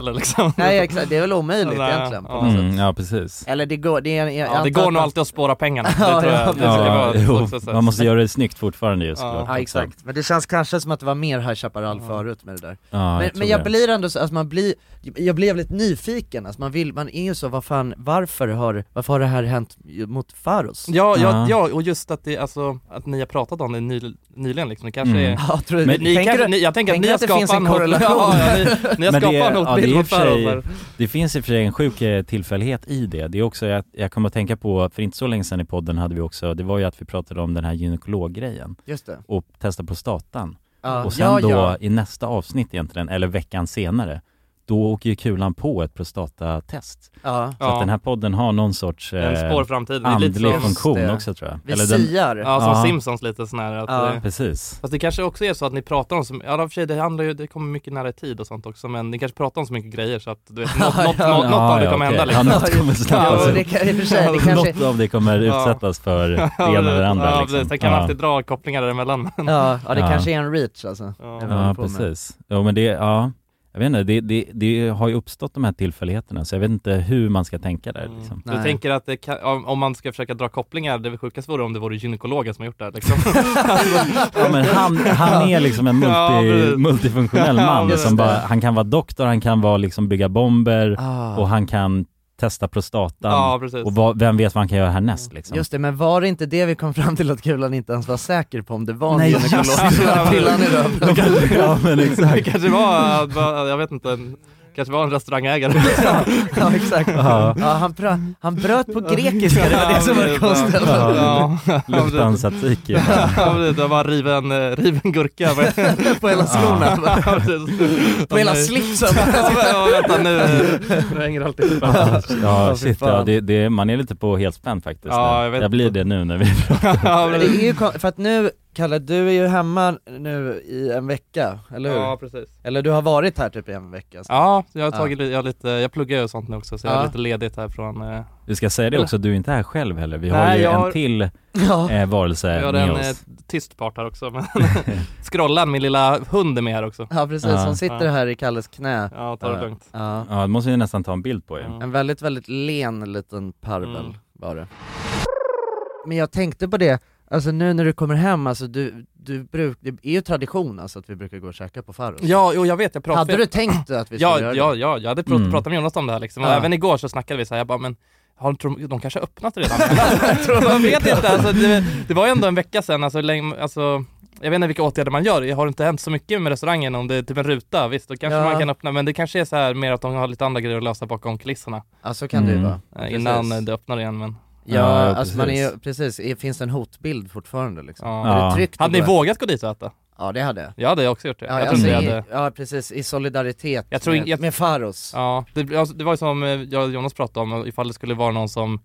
Speaker 1: Eller liksom.
Speaker 2: Nej exakt, det är väl omöjligt egentligen. på något sätt.
Speaker 8: Mm, ja, precis.
Speaker 2: Eller det går, det är en, jag
Speaker 1: [LAUGHS] Ja, det
Speaker 2: antar
Speaker 1: går
Speaker 2: att
Speaker 1: nog
Speaker 2: man-
Speaker 1: alltid att spåra [LAUGHS] pengarna. Det
Speaker 2: Ja,
Speaker 1: tror
Speaker 2: ja,
Speaker 1: jag.
Speaker 2: precis.
Speaker 8: Ja,
Speaker 1: det
Speaker 8: jo,
Speaker 1: var ett
Speaker 8: man måste göra det snyggt fortfarande ju
Speaker 2: Ja,
Speaker 8: såklart.
Speaker 2: exakt. Men det känns kanske som att det var mer High Chaparral förut med det där.
Speaker 8: Ja, jag
Speaker 2: men,
Speaker 8: tror
Speaker 2: men jag
Speaker 8: det.
Speaker 2: blir ändå så, alltså man blir, jag blir jävligt nyfiken, alltså man vill, man är ju så, vad fan, varför har, varför har det här hänt mot Faros?
Speaker 1: Ja, ja, ja, och just att, det, alltså, att ni har pratat om det ny, nyligen liksom, det kanske
Speaker 8: Mm.
Speaker 1: är...
Speaker 2: Ja, tror du-
Speaker 1: Men ni
Speaker 2: tänker
Speaker 1: kanske,
Speaker 2: du-
Speaker 1: ni, jag tänker att
Speaker 2: tänker
Speaker 1: ni har
Speaker 2: att det finns en
Speaker 1: skapat hot-
Speaker 2: korrelation?
Speaker 1: [LAUGHS] Ja, ja, ni, ni har
Speaker 8: Men
Speaker 1: skapat en
Speaker 8: det,
Speaker 1: hotbild
Speaker 8: i och
Speaker 1: mot
Speaker 8: för sig-
Speaker 1: Faros.
Speaker 8: det finns i och för sig en sjuk eh, tillfällighet i det. Det är också, jag, jag kommer att tänka på, för inte så länge sedan i podden hade vi också, det var ju att vi pratade om den här gynekologgrejen.
Speaker 2: Just det.
Speaker 8: Och testa prostatan.
Speaker 2: Ja.
Speaker 8: Och sen
Speaker 2: Ja,
Speaker 8: då
Speaker 2: ja.
Speaker 8: i nästa avsnitt egentligen, eller veckan senare, då åker ju kulan på ett prostatatest.
Speaker 2: Ja.
Speaker 8: Så
Speaker 1: Ja.
Speaker 8: att den här podden har någon sorts eh,
Speaker 1: Det är en spår framtiden. Det är lite
Speaker 8: andlig
Speaker 1: så-
Speaker 8: funktion
Speaker 1: Just det.
Speaker 8: också tror jag.
Speaker 1: Vi
Speaker 8: den-
Speaker 1: siar. Ja, som Simpsons lite sån här att det-
Speaker 8: Precis.
Speaker 1: Fast det kanske också är så att ni pratar om, som, ja i och för sig det handlar ju, det kommer mycket nära i tid och sånt också men ni kanske pratar om så mycket grejer så att
Speaker 2: [LAUGHS]
Speaker 1: du vet, något, något, något,
Speaker 8: Ja,
Speaker 1: något
Speaker 8: ja,
Speaker 1: av det
Speaker 8: ja,
Speaker 1: kommer
Speaker 8: okej.
Speaker 1: hända
Speaker 8: Ja, alltså-
Speaker 1: liksom.
Speaker 8: något kommer
Speaker 1: [LAUGHS]
Speaker 8: snappas upp. Något av det kommer
Speaker 1: Ja.
Speaker 8: utsättas för det
Speaker 1: [LAUGHS] Ja,
Speaker 8: ena eller det andra.
Speaker 1: Ja,
Speaker 8: liksom.
Speaker 1: precis. Det kan man
Speaker 8: Ja.
Speaker 1: alltid dra kopplingar däremellan.
Speaker 2: Ja, ja det
Speaker 8: Ja.
Speaker 2: kanske är en reach alltså. Ja,
Speaker 8: Ja, precis. Ja, men det, ja, jag vet inte, det, det, det har ju uppstått de här tillfälligheterna så jag vet inte hur man ska tänka där liksom.
Speaker 1: Du tänker att det kan, om, om man ska försöka dra kopplingar, det sjukaste vore om det vore gynekologen som har gjort det här
Speaker 8: [LAUGHS]
Speaker 1: liksom.
Speaker 8: Ja, men han, han är liksom en
Speaker 1: [LAUGHS]
Speaker 8: multi,
Speaker 1: Ja, precis.
Speaker 8: multifunktionell
Speaker 1: Ja,
Speaker 8: man
Speaker 1: precis.
Speaker 8: som bara, han kan vara doktor, han kan vara liksom bygga bomber
Speaker 2: Ah.
Speaker 8: och han kan testa prostatan
Speaker 1: Ja, precis.
Speaker 8: och vad, vem vet vad han kan göra härnäst liksom.
Speaker 2: Just det, men var det inte det vi kom fram till att kulan inte ens var säker på om det var en
Speaker 8: Nej,
Speaker 2: gynekolog
Speaker 8: just
Speaker 2: som [LAUGHS]
Speaker 8: det.
Speaker 2: hade pillan i
Speaker 8: [LAUGHS]
Speaker 2: röven?
Speaker 8: Ja, men exakt.
Speaker 1: [LAUGHS] Det kanske var, att bara- jag vet inte, en, kanske var en restaurangägare.
Speaker 2: Ja exakt.
Speaker 8: Ja.
Speaker 2: Ja. han, pra- han bröt på grekiska, det var det som var konstigt.
Speaker 1: Ja.
Speaker 8: Luftan tzatziki.
Speaker 1: Ja, precis. Det var riven, eh, riven [LAUGHS] gurka.
Speaker 2: [LAUGHS] På hela skorna.
Speaker 1: Ja, precis.
Speaker 2: På hela
Speaker 1: Nej.
Speaker 2: slipsen.
Speaker 1: Ja, men, ja, vänta nu, nu hänger allt [LAUGHS] ihop.
Speaker 8: Ja,
Speaker 1: fy
Speaker 8: shit,
Speaker 1: fan.
Speaker 8: ja, det, det, man är lite på helspänn faktiskt.
Speaker 1: Ja,
Speaker 8: nu.
Speaker 1: jag vet
Speaker 8: jag blir det nu när vi [LAUGHS]
Speaker 1: Ja,
Speaker 2: Men det är ju kon- för att nu, Kalle, du är ju hemma nu i en vecka, eller hur?
Speaker 1: Ja, precis.
Speaker 2: Eller du har varit här typ i en vecka? så.
Speaker 1: Ja, jag, har tagit, li- jag, har lite, jag pluggar ju och sånt nu också så jag
Speaker 2: Ja.
Speaker 1: är lite ledigt här från eh,
Speaker 8: Vi ska säga det också, du är inte här själv heller. Vi har
Speaker 1: Nej,
Speaker 8: ju
Speaker 1: jag
Speaker 8: en
Speaker 1: har-
Speaker 8: till
Speaker 2: [LAUGHS] Ja.
Speaker 8: eh, varelse
Speaker 2: Äh,
Speaker 1: Jag har
Speaker 8: med
Speaker 1: en
Speaker 8: oss.
Speaker 1: eh, tyst part här
Speaker 2: [LAUGHS]
Speaker 1: också men [LAUGHS] Scrollan, min lilla hund är med här också
Speaker 2: Ja precis, hon sitter här i Kalles knä.
Speaker 1: Ja, ta det lugnt. Mm.
Speaker 2: Ja.
Speaker 8: Ja, det måste vi nästan ta en bild på ju.
Speaker 2: En väldigt, väldigt len liten parvel
Speaker 8: Mm.
Speaker 2: var det. Men jag tänkte på det, alltså nu när du kommer hem, alltså du, du bruk, det är ju tradition alltså att vi brukar gå och käka på Farros.
Speaker 1: Ja, jo, jag vet, jag pratade
Speaker 2: Hade du tänkt att
Speaker 1: [LAUGHS]
Speaker 2: vi skulle
Speaker 1: ja,
Speaker 2: göra
Speaker 1: ja,
Speaker 2: det?
Speaker 1: ja, jag hade pr-
Speaker 2: Mm.
Speaker 1: pratat med Jonas om det här liksom. och
Speaker 2: Ja.
Speaker 1: även igår så snackade vi så här, jag bara men har de, tror de- de kanske har
Speaker 2: [LAUGHS]
Speaker 1: öppnat redan? man vet inte, alltså, det, det var ju ändå en vecka sedan, alltså, länge, alltså, jag vet inte vilka åtgärder man gör, det har inte hänt så mycket med restaurangen om det är typ en ruta, visst då kanske
Speaker 2: Ja.
Speaker 1: man kan öppna men det kanske är så här mer att de har lite andra grejer att lösa bakom kulisserna.
Speaker 2: Ja, så kan det ju Mm. vara.
Speaker 1: Eh, Innan
Speaker 2: Precis.
Speaker 1: det öppnar igen men
Speaker 2: Ja, alltså man är ju, precis, är- finns det en hotbild fortfarande liksom?
Speaker 1: Ja.
Speaker 2: Är det
Speaker 1: Ja.
Speaker 2: tryggt att
Speaker 1: Hade ni
Speaker 2: gå-
Speaker 1: vågat gå dit och äta?
Speaker 2: Ja det hade jag.
Speaker 1: Jag hade också gjort det.
Speaker 2: Ja,
Speaker 1: jag tror
Speaker 2: alltså,
Speaker 1: inte jag
Speaker 2: i-
Speaker 1: hade...
Speaker 2: ja precis, i solidaritet
Speaker 1: Jag tror,
Speaker 2: med,
Speaker 1: jag,
Speaker 2: med Faros.
Speaker 1: Ja, det, alltså, det var ju som eh, jag och Jonas pratade om, ifall det skulle vara någon som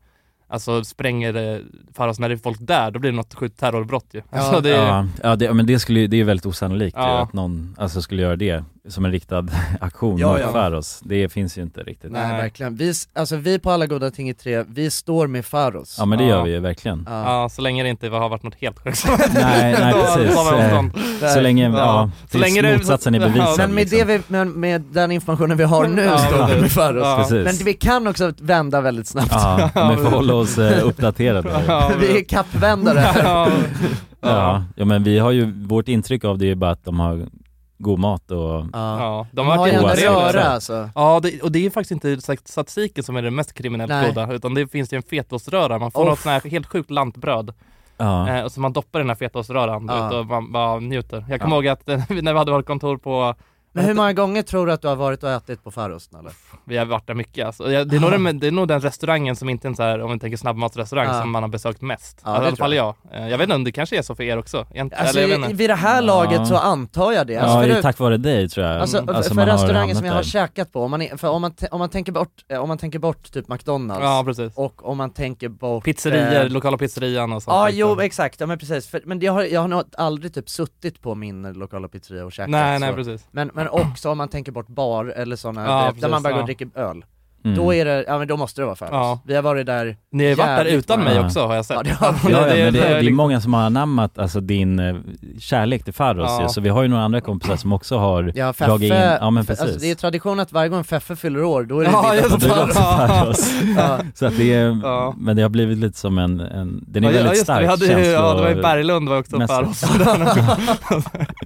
Speaker 1: alltså, spränger eh, Faros när det är folk där, då blir det något sjukt terrorbrott ju. Alltså, det,
Speaker 8: ja, ja, det, men det, skulle, ju- det är ju väldigt osannolikt ju,
Speaker 1: Ja.
Speaker 8: att någon alltså, skulle göra det som en riktad [LAUGHS] aktion
Speaker 2: Ja,
Speaker 8: mot
Speaker 2: ja.
Speaker 8: Faros. Det finns ju inte riktigt.
Speaker 2: Nej, verkligen. Vi, s- alltså vi på Alla Goda Ting i tre, vi står med Faros.
Speaker 8: Ja men det gör vi ju verkligen.
Speaker 1: Ja. så länge det inte har varit något helt sjukt. [LAUGHS]
Speaker 8: Nej, nej
Speaker 1: Då
Speaker 8: precis.
Speaker 1: tar vi avstånd.
Speaker 8: Eh, Så länge, ja, tills motsatsen liksom. är bevisad.
Speaker 2: Men med, det vi, med, med den informationen vi har nu
Speaker 8: Ja,
Speaker 2: står vi med
Speaker 8: precis.
Speaker 2: Faros.
Speaker 8: Ja. Precis.
Speaker 2: Men vi kan också vända väldigt snabbt.
Speaker 8: Ja, men vi får hålla oss eh, uppdaterade.
Speaker 2: vi är
Speaker 1: [LAUGHS]
Speaker 2: kappvändare.
Speaker 1: Ja.
Speaker 8: Ja, ja men vi har ju, vårt intryck av det är ju bara att de har god mat och
Speaker 1: Ja,
Speaker 8: de
Speaker 1: de har varit
Speaker 8: ju
Speaker 1: otrevliga.
Speaker 8: röra,
Speaker 2: alltså.
Speaker 1: Ja, det, och det är faktiskt inte stat- statistiken som är det mest kriminellt
Speaker 2: Nej.
Speaker 1: goda, utan det finns ju en fetaoströra, man får
Speaker 2: Off.
Speaker 1: något sånt här helt sjukt lantbröd.
Speaker 8: Ja.
Speaker 1: Eh, och så man doppar i den här fetaoströran du
Speaker 2: Ja.
Speaker 1: vet, och man bara njuter. Jag kommer
Speaker 2: Ja.
Speaker 1: ihåg att eh, [LAUGHS] när vi hade vårt kontor på
Speaker 2: Men hur många gånger tror du att du har varit och ätit på Faros Nalle?
Speaker 1: Vi har varit där mycket alltså. Jag- det, är nog
Speaker 2: Aha.
Speaker 1: den, det är nog den restaurangen som inte är en så här, om vi tänker snabbmatsrestaurang,
Speaker 2: Ja.
Speaker 1: som man har besökt mest.
Speaker 2: Ja,
Speaker 1: alltså, I
Speaker 2: det
Speaker 1: alla fall jag. Eh, Jag vet inte om det kanske är så för er också? Egent-
Speaker 2: Alltså,
Speaker 1: eller jag
Speaker 2: i-
Speaker 1: vet inte.
Speaker 2: vid det här laget
Speaker 8: Ja.
Speaker 2: så antar jag det. Alltså,
Speaker 8: ja,
Speaker 2: för
Speaker 8: det är
Speaker 2: du-
Speaker 8: tack vare dig tror jag.
Speaker 2: Alltså,
Speaker 8: Alltså, man
Speaker 2: för
Speaker 8: har
Speaker 2: restauranger
Speaker 8: hamnat
Speaker 2: som jag
Speaker 8: där.
Speaker 2: har käkat på, om man, är, för om, man t- om, man tänker bort, eh, om man tänker bort typ McDonalds
Speaker 1: Ja, precis.
Speaker 2: och om man tänker bort...
Speaker 1: Pizzerior, liksom.
Speaker 2: eh,
Speaker 1: lokala pizzerian och sånt.
Speaker 2: Ja,
Speaker 1: liksom.
Speaker 2: jo exakt, ja men precis. För, men jag har, jag har nog aldrig typ suttit på min eh, lokala pizzeria och käkat
Speaker 1: Nej, nej,
Speaker 2: så.
Speaker 1: precis.
Speaker 2: Men, men också om man tänker bort bar eller sådana,
Speaker 1: Ja,
Speaker 2: där
Speaker 1: precis,
Speaker 2: man bara går
Speaker 1: ja.
Speaker 2: och dricker öl.
Speaker 8: Mm.
Speaker 2: Då är det, ja men då måste det vara Phelps.
Speaker 1: Ja.
Speaker 2: Vi har varit där
Speaker 1: Ni har ju varit där
Speaker 2: jävligt
Speaker 1: utan
Speaker 2: många
Speaker 1: mig
Speaker 2: gånger.
Speaker 1: också har jag sett.
Speaker 2: Ja,
Speaker 1: [LAUGHS]
Speaker 2: det har vi.
Speaker 8: Ja, ja,
Speaker 1: det-
Speaker 8: men det,
Speaker 1: det är
Speaker 8: det är
Speaker 1: liksom-
Speaker 8: många som har anammat alltså, din eh, kärlek till Farros
Speaker 2: Ja.
Speaker 8: ju, så vi har ju några andra kompisar som också har
Speaker 2: Ja, Feffe,
Speaker 8: dragit in, ja men precis.
Speaker 2: Alltså, det är tradition att varje gång Feffe fyller år, då är det
Speaker 1: Ja,
Speaker 2: middag
Speaker 1: just
Speaker 2: på
Speaker 1: [LAUGHS] det.
Speaker 2: Farros.
Speaker 1: Ja.
Speaker 8: Farros.
Speaker 2: Ja.
Speaker 8: Så att det är,
Speaker 1: Ja.
Speaker 8: men det har blivit lite som en, en den är
Speaker 1: Ja,
Speaker 8: väldigt
Speaker 1: just det,
Speaker 8: stark
Speaker 1: vi hade ju-
Speaker 8: känslo-
Speaker 1: ja, det var ju Berglund var också
Speaker 8: mässigt.
Speaker 1: [LAUGHS] Farros.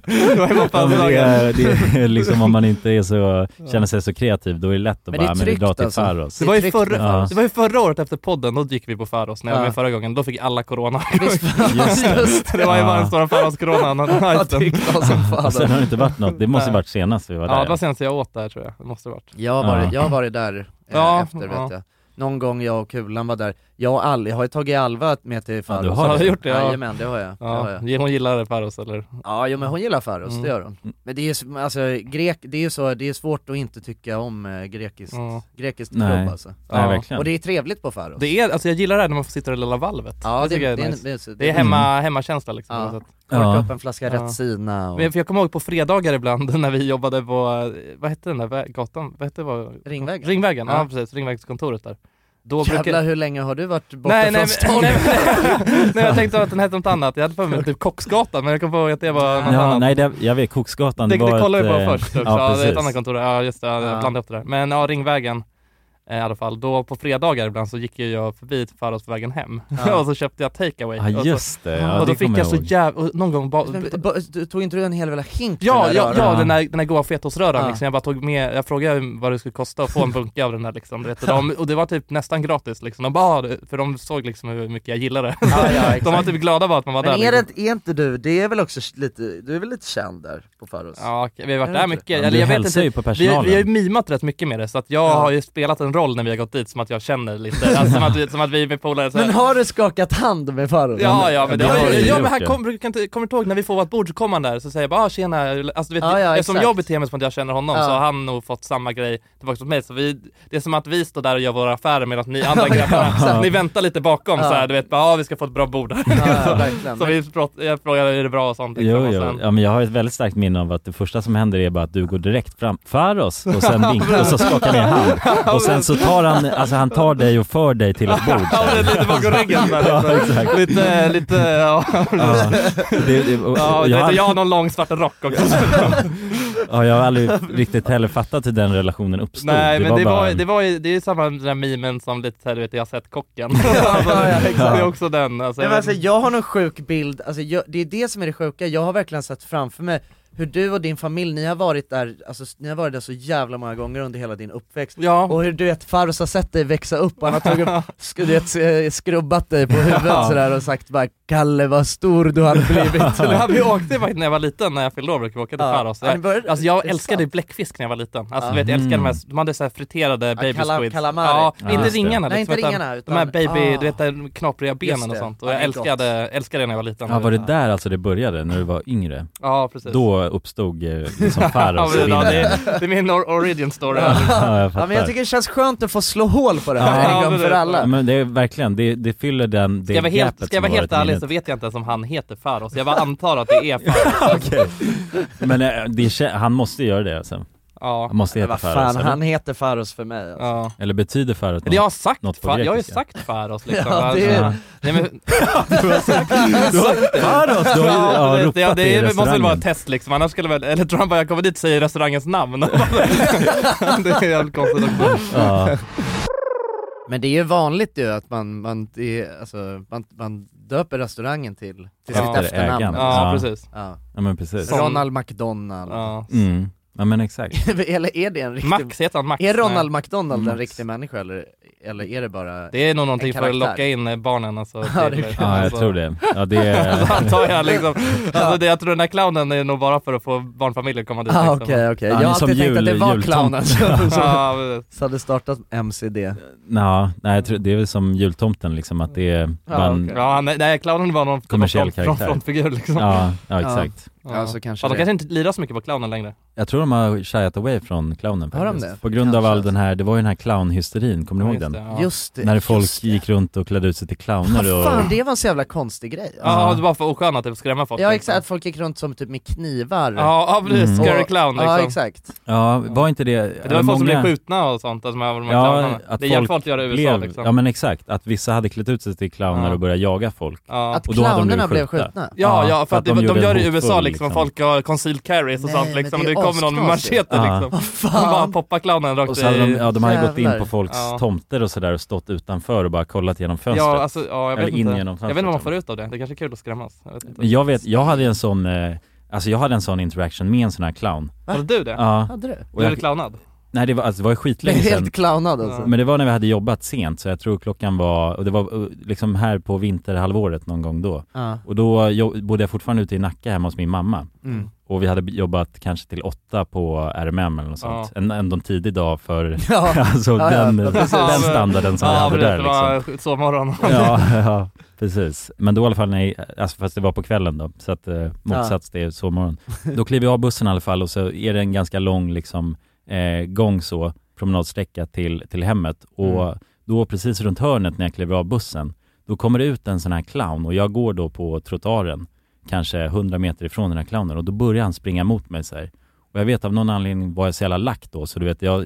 Speaker 1: Det var ju på
Speaker 8: Ja, men det är-
Speaker 1: födelsedagen.
Speaker 8: det är liksom om man inte är så, känner sig så kreativ då är det lätt att
Speaker 1: Men det är
Speaker 8: bara, men vi
Speaker 1: tryggt
Speaker 8: drar till
Speaker 1: alltså.
Speaker 8: Farros.
Speaker 1: Det var, ju förra,
Speaker 8: Ja.
Speaker 1: det var ju förra året efter podden, då gick vi på Faros när jag var
Speaker 8: Ja.
Speaker 1: med förra gången, då fick alla corona.
Speaker 8: Just
Speaker 2: [LAUGHS]
Speaker 1: [LAUGHS]
Speaker 8: det.
Speaker 1: det var ju bara den
Speaker 8: Ja.
Speaker 1: stora Faros-coronan.
Speaker 2: Ja, typ. det är klart som fan.
Speaker 8: Och sen har det inte varit något, det måste
Speaker 1: Nej.
Speaker 8: varit senast vi var där.
Speaker 1: Ja, det var senast jag åt där tror jag. Det måste ha varit.
Speaker 2: Jag har varit, jag har varit där eh,
Speaker 1: Ja,
Speaker 2: efter
Speaker 1: ja.
Speaker 2: vet jag. Någon gång jag och Kulan var där. Jag och Alli, jag har ju tagit Alva med till Farros.
Speaker 1: du har det. gjort det? Ja.
Speaker 2: Jajamän, det har jag. Det har jag.
Speaker 1: Ja. Hon gillade Faros eller?
Speaker 2: Ja, jo, men hon gillar Faros,
Speaker 1: Mm.
Speaker 2: det gör hon. Men det är ju, så- alltså, grek, det är ju så, det är svårt att inte tycka om eh, grekiskt,
Speaker 1: Ja.
Speaker 2: grekiskt
Speaker 8: Nej.
Speaker 2: klubb alltså.
Speaker 8: Nej, verkligen.
Speaker 2: Och det är trevligt på Faros.
Speaker 1: Det är, alltså jag gillar det här när man får sitta i det lilla valvet.
Speaker 2: Ja, det-
Speaker 1: tycker jag
Speaker 2: det är-
Speaker 1: nice.
Speaker 2: det är så-
Speaker 1: det är
Speaker 2: det-
Speaker 1: hemma, hemmakänsla liksom.
Speaker 2: Ja.
Speaker 1: på något sätt.
Speaker 2: Korka Ja. upp en flaska Retsina och-
Speaker 1: Men för jag kommer ihåg på fredagar ibland [LAUGHS] när vi jobbade på, eh, vad hette den där vä- gatan? Vad hette det?
Speaker 2: Ringvägen.
Speaker 1: Ringvägen, ja,
Speaker 2: Ja.
Speaker 1: precis. Ringvägskontoret där.
Speaker 2: Jävlar
Speaker 1: brukar-
Speaker 2: hur länge har du varit borta
Speaker 1: Nej,
Speaker 2: från
Speaker 1: nej,
Speaker 2: stan?
Speaker 1: nej, nej, [LAUGHS] nej, nej, jag tänkte att den hette något annat. Jag hade för mig typ Kocksgatan, men jag kom på att det var något
Speaker 8: Ja,
Speaker 1: annat.
Speaker 8: nej, det, jag vet, Koksgatan,
Speaker 1: Det,
Speaker 8: det,
Speaker 1: det
Speaker 8: var
Speaker 1: kollar vi
Speaker 8: eh,
Speaker 1: på först också.
Speaker 8: Ja,
Speaker 1: Ja, det är ett
Speaker 8: precis.
Speaker 1: annat kontor. Ja just det, jag
Speaker 2: Ja.
Speaker 1: blandade upp det där. Men ja, Ringvägen eh, i alla fall. Då på fredagar ibland så gick ju jag förbi till Farros på vägen hem.
Speaker 2: Ja.
Speaker 1: [LAUGHS] och så köpte jag takeaway.
Speaker 8: Ja,
Speaker 1: Och så-
Speaker 8: just det. Ja,
Speaker 1: och då
Speaker 8: det
Speaker 1: fick
Speaker 8: kommer
Speaker 1: jag så
Speaker 8: jag ihåg.
Speaker 1: jävla, någon gång bara...
Speaker 2: Men, ba- du- Tog inte du en hel jävla hink med
Speaker 1: Ja,
Speaker 2: den
Speaker 1: ja,
Speaker 2: röran?
Speaker 1: ja, den här, den här goa fetaoströran
Speaker 2: Ja.
Speaker 1: liksom. Jag bara tog med, jag frågade vad det skulle kosta att få en bunke av den där liksom. Du vet, och, de, och det var typ nästan gratis liksom. De bara, "Ah, det-" för de såg liksom hur mycket jag
Speaker 2: [LAUGHS]
Speaker 1: gillade det.
Speaker 2: Ja, ja,
Speaker 1: de var
Speaker 2: exakt.
Speaker 1: typ glada bara att man var
Speaker 2: Men
Speaker 1: där.
Speaker 2: är,
Speaker 1: liksom.
Speaker 2: det, är inte du, det är väl också lite, du är väl lite känd där på Faros?
Speaker 1: Ja, okej, vi har varit
Speaker 2: Är
Speaker 1: där
Speaker 2: det
Speaker 1: mycket.
Speaker 2: inte?
Speaker 1: Eller
Speaker 8: Men du
Speaker 1: jag vet
Speaker 8: hälsar
Speaker 1: inte.
Speaker 8: ju på personalen.
Speaker 1: Vi, vi har ju mimat rätt mycket med det, så att jag har ju spelat en roll när vi har gått dit som att jag känner lite, alltså, som, att vi, som att vi är med polare så här.
Speaker 2: Men har du skakat hand med Faros?
Speaker 1: Ja, ja, men, det har
Speaker 2: ju
Speaker 1: jag, ja,
Speaker 2: gjort
Speaker 1: men han
Speaker 2: det.
Speaker 1: kom, brukar inte, kommer inte ihåg när vi får vårt bord så kommer han där så säger jag bara ah, tjena, alltså, du vet,
Speaker 2: Ja, ja,
Speaker 1: eftersom
Speaker 2: exakt.
Speaker 1: jag beter mig som att jag känner honom
Speaker 2: Ja.
Speaker 1: så har han nog fått samma grej tillbaka mot mig. Så vi, det är som att vi står där och gör våra affärer medan ni andra grabbar,
Speaker 2: exakt.
Speaker 1: ni väntar lite bakom
Speaker 2: Ja.
Speaker 1: så här, du vet bara ah, vi ska få ett bra bord här.
Speaker 2: ja,
Speaker 1: så,
Speaker 2: verkligen.
Speaker 1: så vi prat- jag frågar är det bra och sånt liksom.
Speaker 8: Jo,
Speaker 1: och
Speaker 8: jo.
Speaker 1: sen,
Speaker 8: Ja, men jag har ett väldigt starkt minne av att det första som händer är bara att du går direkt fram, Faros,
Speaker 1: [LAUGHS]
Speaker 8: och sen vinkar och så skakar ni hand. Och sen så tar han, alltså han tar dig och för dig till ett bord.
Speaker 1: Ja, men lite bakom ryggen där.
Speaker 8: [LAUGHS] Ja, exakt.
Speaker 1: Lite, lite, ja.
Speaker 8: Ja, det, det,
Speaker 1: [LAUGHS]
Speaker 8: och,
Speaker 1: Ja,
Speaker 8: och
Speaker 1: du
Speaker 8: jag,
Speaker 1: vet, och jag har
Speaker 8: har,
Speaker 1: någon lång svart rock också.
Speaker 8: ja, jag har aldrig riktigt heller fattat hur den relationen uppstod.
Speaker 1: Nej men det var,
Speaker 8: bara-
Speaker 1: det var ju, det är ju samma den där memen som lite såhär du vet, jag har sett kocken. [LAUGHS] alltså, det är också den. Alltså,
Speaker 2: Nej,
Speaker 1: jag
Speaker 2: men
Speaker 1: vet-
Speaker 2: alltså, jag har någon sjuk bild, alltså, jag, det är det som är det sjuka, jag har verkligen sett framför mig hur du och din familj, ni har varit där, alltså, ni har varit där så jävla många gånger under hela din uppväxt,
Speaker 1: ja.
Speaker 2: och hur du vet Faros har sett dig växa upp, han har tagit
Speaker 1: [LAUGHS]
Speaker 2: upp, sk- du vet, eh, skrubbat dig på huvudet
Speaker 1: Ja.
Speaker 2: sådär och sagt bara 'Kalle vad stor du har
Speaker 1: [LAUGHS]
Speaker 2: blivit'
Speaker 1: Så det här, vi åkte faktiskt när jag var liten, när jag fyllde år brukade vi åka till
Speaker 2: Ja.
Speaker 1: Faros.
Speaker 2: Ja, det började-
Speaker 1: Alltså jag
Speaker 2: det är
Speaker 1: älskade bläckfisk när jag var liten. Alltså
Speaker 2: Ja.
Speaker 1: du vet, jag älskade de här,
Speaker 2: Mm.
Speaker 1: de hade så här friterade baby
Speaker 2: kala-
Speaker 1: squids.
Speaker 2: kalamari.
Speaker 1: Ja,
Speaker 2: Ja,
Speaker 1: inte
Speaker 2: just det.
Speaker 1: ringarna
Speaker 2: Nej,
Speaker 1: liksom,
Speaker 2: inte ringarna, utan-
Speaker 1: de här baby,
Speaker 2: ah.
Speaker 1: du vet de knapriga
Speaker 2: Just
Speaker 1: benen och
Speaker 2: det.
Speaker 1: sånt.
Speaker 2: Ja,
Speaker 1: Och
Speaker 2: det
Speaker 1: jag
Speaker 2: är gott.
Speaker 1: älskade, älskade det när jag var liten.
Speaker 8: Ja, var det där alltså det började, när du var yngre?
Speaker 1: Ja, precis.
Speaker 8: Då uppstod eh, liksom
Speaker 1: Typ. [LAUGHS] Ja,
Speaker 8: Faros
Speaker 1: men
Speaker 8: i
Speaker 1: ja, Alltså, det,
Speaker 8: bilden.
Speaker 1: är- det är min or- origin story.
Speaker 8: Ja, jag
Speaker 2: Ja men jag
Speaker 8: fattar.
Speaker 2: tycker det känns skönt att få slå hål på det här
Speaker 1: Ja,
Speaker 2: en gång
Speaker 1: men
Speaker 2: för
Speaker 1: det-
Speaker 2: alla
Speaker 8: Men det är verkligen, det, det fyller den, det
Speaker 1: Ska jag vara helt,
Speaker 8: gapet
Speaker 1: ska jag vara
Speaker 8: som har
Speaker 1: helt
Speaker 8: varit i
Speaker 1: ärlig
Speaker 8: minnet.
Speaker 1: så vet jag inte ens om han heter Faros, jag bara antar att det är Faros.
Speaker 8: Men eh, det, kä- han måste göra det sen.
Speaker 1: Ja.
Speaker 8: Han måste
Speaker 2: Men
Speaker 8: heta
Speaker 2: vad
Speaker 8: Faros.
Speaker 2: fan,
Speaker 8: eller?
Speaker 2: han heter Faros för mig alltså.
Speaker 1: Ja.
Speaker 8: Eller betyder Faros
Speaker 1: Eller jag har sagt,
Speaker 8: något på
Speaker 1: fa- jag har ju
Speaker 8: grekiska?
Speaker 1: sagt Faros liksom.
Speaker 2: Ja, det är-
Speaker 1: Alltså, Nej, men...
Speaker 8: Du har sagt- du har- Faros, du [LAUGHS] har ju- ja,
Speaker 1: det-
Speaker 8: ropat
Speaker 1: ja, det,
Speaker 8: det i
Speaker 1: är- måste väl vara
Speaker 8: restaurangen.
Speaker 1: ett test liksom, annars skulle väl, eller tror han bara jag kommer dit och säger restaurangens namn. [LAUGHS] det är jävligt konstigt också.
Speaker 8: Ja.
Speaker 2: Men det är ju vanligt ju att man, man, det är, alltså, man, man döper restaurangen till, till
Speaker 8: Efter
Speaker 2: sitt efternamn
Speaker 8: ägaren.
Speaker 1: Ja,
Speaker 8: Ja.
Speaker 1: precis.
Speaker 2: Ja.
Speaker 8: Ja men precis.
Speaker 2: Ronald McDonald
Speaker 1: Ja.
Speaker 8: Mm. Ja men exakt.
Speaker 2: [LAUGHS] Eller är det en riktig...
Speaker 1: Max, heter han Max?
Speaker 2: Är Ronald
Speaker 1: Nej.
Speaker 2: McDonald en
Speaker 1: Max.
Speaker 2: riktig människa eller, eller är det bara
Speaker 1: Det är nog
Speaker 2: en
Speaker 1: någonting för att
Speaker 2: karaktär?
Speaker 1: locka in eh, barnen alltså.
Speaker 2: Ja,
Speaker 1: till-
Speaker 2: det-
Speaker 8: Ja jag
Speaker 1: alltså.
Speaker 8: tror det. Ja det
Speaker 1: [LAUGHS]
Speaker 8: är...
Speaker 1: Alltså,
Speaker 2: [LAUGHS]
Speaker 1: antar jag liksom. Alltså, det, jag tror den här clownen är nog bara för att få barnfamiljer att komma dit.
Speaker 2: Ah,
Speaker 1: liksom.
Speaker 2: okej, okej. Jag
Speaker 8: är
Speaker 2: har alltid
Speaker 8: som
Speaker 2: tänkt att det
Speaker 8: jul-
Speaker 2: var
Speaker 8: jultomten.
Speaker 2: clownen [LAUGHS]
Speaker 8: [LAUGHS]
Speaker 2: som,
Speaker 1: [LAUGHS] Ja,
Speaker 2: som,
Speaker 1: precis.
Speaker 2: som hade startat MCD
Speaker 8: Ja, nej jag tror, det är väl som jultomten liksom att det är...
Speaker 2: Ja,
Speaker 8: man-
Speaker 2: okej.
Speaker 1: Ja, nej, nej, clownen var någon
Speaker 8: Kommersiell
Speaker 1: någon front-
Speaker 8: karaktär.
Speaker 1: frontfigur liksom. [LAUGHS]
Speaker 8: Ja, ja, exakt.
Speaker 2: Ja, så kanske
Speaker 1: Ja, de
Speaker 2: det.
Speaker 1: kanske inte lirar så mycket på clownen längre.
Speaker 8: Jag tror de har shyat away från clownen
Speaker 2: Har de
Speaker 8: faktiskt.
Speaker 2: det?
Speaker 8: På grund av all den här, det var ju den här clownhysterin, kommer ni
Speaker 1: Ja,
Speaker 8: ihåg tiden.
Speaker 1: Just det, ja.
Speaker 2: Just det,
Speaker 8: när folk gick runt och klädde ut sig till clowner och...
Speaker 2: Fan det var en så jävla konstig grej.
Speaker 1: Ja, det var för oskönt att typ skrämma folk.
Speaker 2: Ja exakt, att folk gick runt som typ med knivar.
Speaker 1: Ja, ja precis.
Speaker 8: Mm.
Speaker 2: Och-
Speaker 1: Scary clown liksom.
Speaker 2: Ja exakt.
Speaker 8: Ja, var inte det...
Speaker 1: Det var folk som blev skjutna och sånt, alltså, med de här clownerna.
Speaker 8: att
Speaker 1: Det hjälpte folk att göra i USA
Speaker 8: blev-
Speaker 1: liksom.
Speaker 8: Ja men exakt, att vissa hade klätt ut sig till clowner
Speaker 1: Ja.
Speaker 8: och börjat jaga folk.
Speaker 1: Ja.
Speaker 8: Och då hade de blivit
Speaker 1: Ja, ja, för att det, de,
Speaker 8: gjorde
Speaker 1: gör det i
Speaker 8: hotfull,
Speaker 1: USA liksom, folk har concealed carries och
Speaker 2: Nej,
Speaker 1: sånt
Speaker 2: men
Speaker 1: liksom,
Speaker 2: det
Speaker 1: det,
Speaker 2: är
Speaker 1: det kommer någon med
Speaker 2: asknasigt.
Speaker 1: machete
Speaker 8: Ja.
Speaker 1: liksom. Han bara poppar clownen rakt
Speaker 8: Och så hade de,
Speaker 1: i...
Speaker 8: ja, de hade gått in på folks
Speaker 1: Ja.
Speaker 8: tomter och sådär och stått utanför och bara kollat genom fönstret.
Speaker 1: Ja, alltså, ja, jag vet
Speaker 8: Eller in
Speaker 1: inte. Jag
Speaker 8: genom
Speaker 1: vet
Speaker 8: fönstret.
Speaker 1: inte vad man får ut av det, det kanske är kul att skrämmas. Jag vet inte.
Speaker 8: Men jag vet, jag hade en sån, eh, alltså jag hade en sån interaction med en sån här clown.
Speaker 1: Va? Hade du det?
Speaker 8: Ja.
Speaker 1: Hade du?
Speaker 8: Och
Speaker 1: Blev
Speaker 8: jag-
Speaker 1: du clownad?
Speaker 8: Nej det var, alltså, det var skitlänge
Speaker 2: Blev
Speaker 8: sedan.
Speaker 2: helt clownad alltså.
Speaker 8: Men det var när vi hade jobbat sent, så jag tror klockan var, och det var eh, liksom här på vinterhalvåret någon gång då.
Speaker 2: Ja.
Speaker 8: Och då jo- bodde jag fortfarande ute i Nacka hemma hos min mamma.
Speaker 2: Mm.
Speaker 8: Och vi hade jobbat kanske till åtta på RMM eller något
Speaker 1: Ja.
Speaker 8: sånt. En, ändå en tidig dag för
Speaker 1: Ja.
Speaker 8: [LAUGHS] alltså,
Speaker 1: Ja, ja,
Speaker 8: den,
Speaker 1: precis.
Speaker 8: den standarden som
Speaker 1: Ja,
Speaker 8: vi hade
Speaker 1: precis,
Speaker 8: där
Speaker 1: det
Speaker 8: liksom.
Speaker 1: var sovmorgon.
Speaker 8: [LAUGHS] ja, ja, precis. Men då i alla fall, när, alltså, fast det var på kvällen då, så att eh, motsats det är sovmorgon. Då kliver jag av bussen i alla fall och så är det en ganska lång liksom, eh, gång så, promenadsträcka till, till hemmet. Och
Speaker 3: Mm.
Speaker 8: då precis runt hörnet när jag kliver av bussen, då kommer det ut en sån här clown och jag går då på trottoaren, kanske 100 meter ifrån den här clownen och då börjar han springa mot mig så här. Och jag vet av någon anledning var jag så jävla lack då, så du vet, jag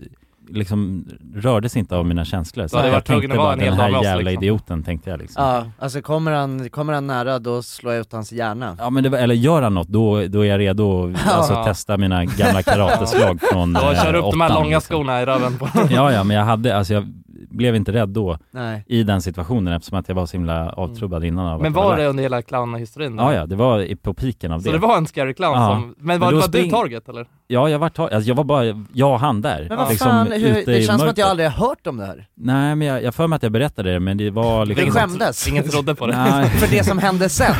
Speaker 8: liksom rördes inte av mina känslor. Så
Speaker 1: Du hade
Speaker 8: att jag
Speaker 1: varit tvungen
Speaker 8: tänkte
Speaker 1: att vara
Speaker 8: bara
Speaker 1: en
Speaker 8: den
Speaker 1: hel
Speaker 8: här
Speaker 1: dag med oss,
Speaker 8: jävla
Speaker 1: liksom."
Speaker 8: idioten, tänkte jag liksom.
Speaker 2: Ja, alltså kommer han, kommer han nära då slår jag ut hans hjärna.
Speaker 8: Ja men det var, eller gör han något, då, då är jag redo att
Speaker 2: Ja.
Speaker 8: alltså, testa mina gamla karateslag från
Speaker 1: Då kör du upp de här
Speaker 8: åttan,
Speaker 1: långa
Speaker 8: liksom.
Speaker 1: skorna i
Speaker 8: [LAUGHS]
Speaker 1: röven på
Speaker 8: Ja ja, men jag hade, alltså jag blev inte rädd då
Speaker 1: Nej.
Speaker 8: i den situationen eftersom att jag var så himla avtrubbad innan av
Speaker 1: Mm. Men
Speaker 8: att jag
Speaker 1: var
Speaker 8: lack.
Speaker 1: det under hela clownhistorin? då?
Speaker 8: liksom. Ja ja, det var i- på piken av det.
Speaker 1: Så det var en scary clown
Speaker 8: Ja.
Speaker 1: som, men var,
Speaker 8: då
Speaker 1: var du
Speaker 8: spring-
Speaker 1: target eller?
Speaker 8: Ja, jag var target, alltså, jag var bara, jag och han där.
Speaker 2: Men vad
Speaker 8: liksom,
Speaker 2: fan, hur,
Speaker 8: ute i
Speaker 2: det känns som att jag
Speaker 8: mörkret.
Speaker 2: aldrig har hört om det här.
Speaker 8: Nej men jag, jag för mig att jag berättade det men det var liksom
Speaker 2: Det
Speaker 1: [LAUGHS]
Speaker 2: skämdes.
Speaker 8: Nej.
Speaker 2: För det som hände
Speaker 8: [LAUGHS]
Speaker 2: sen.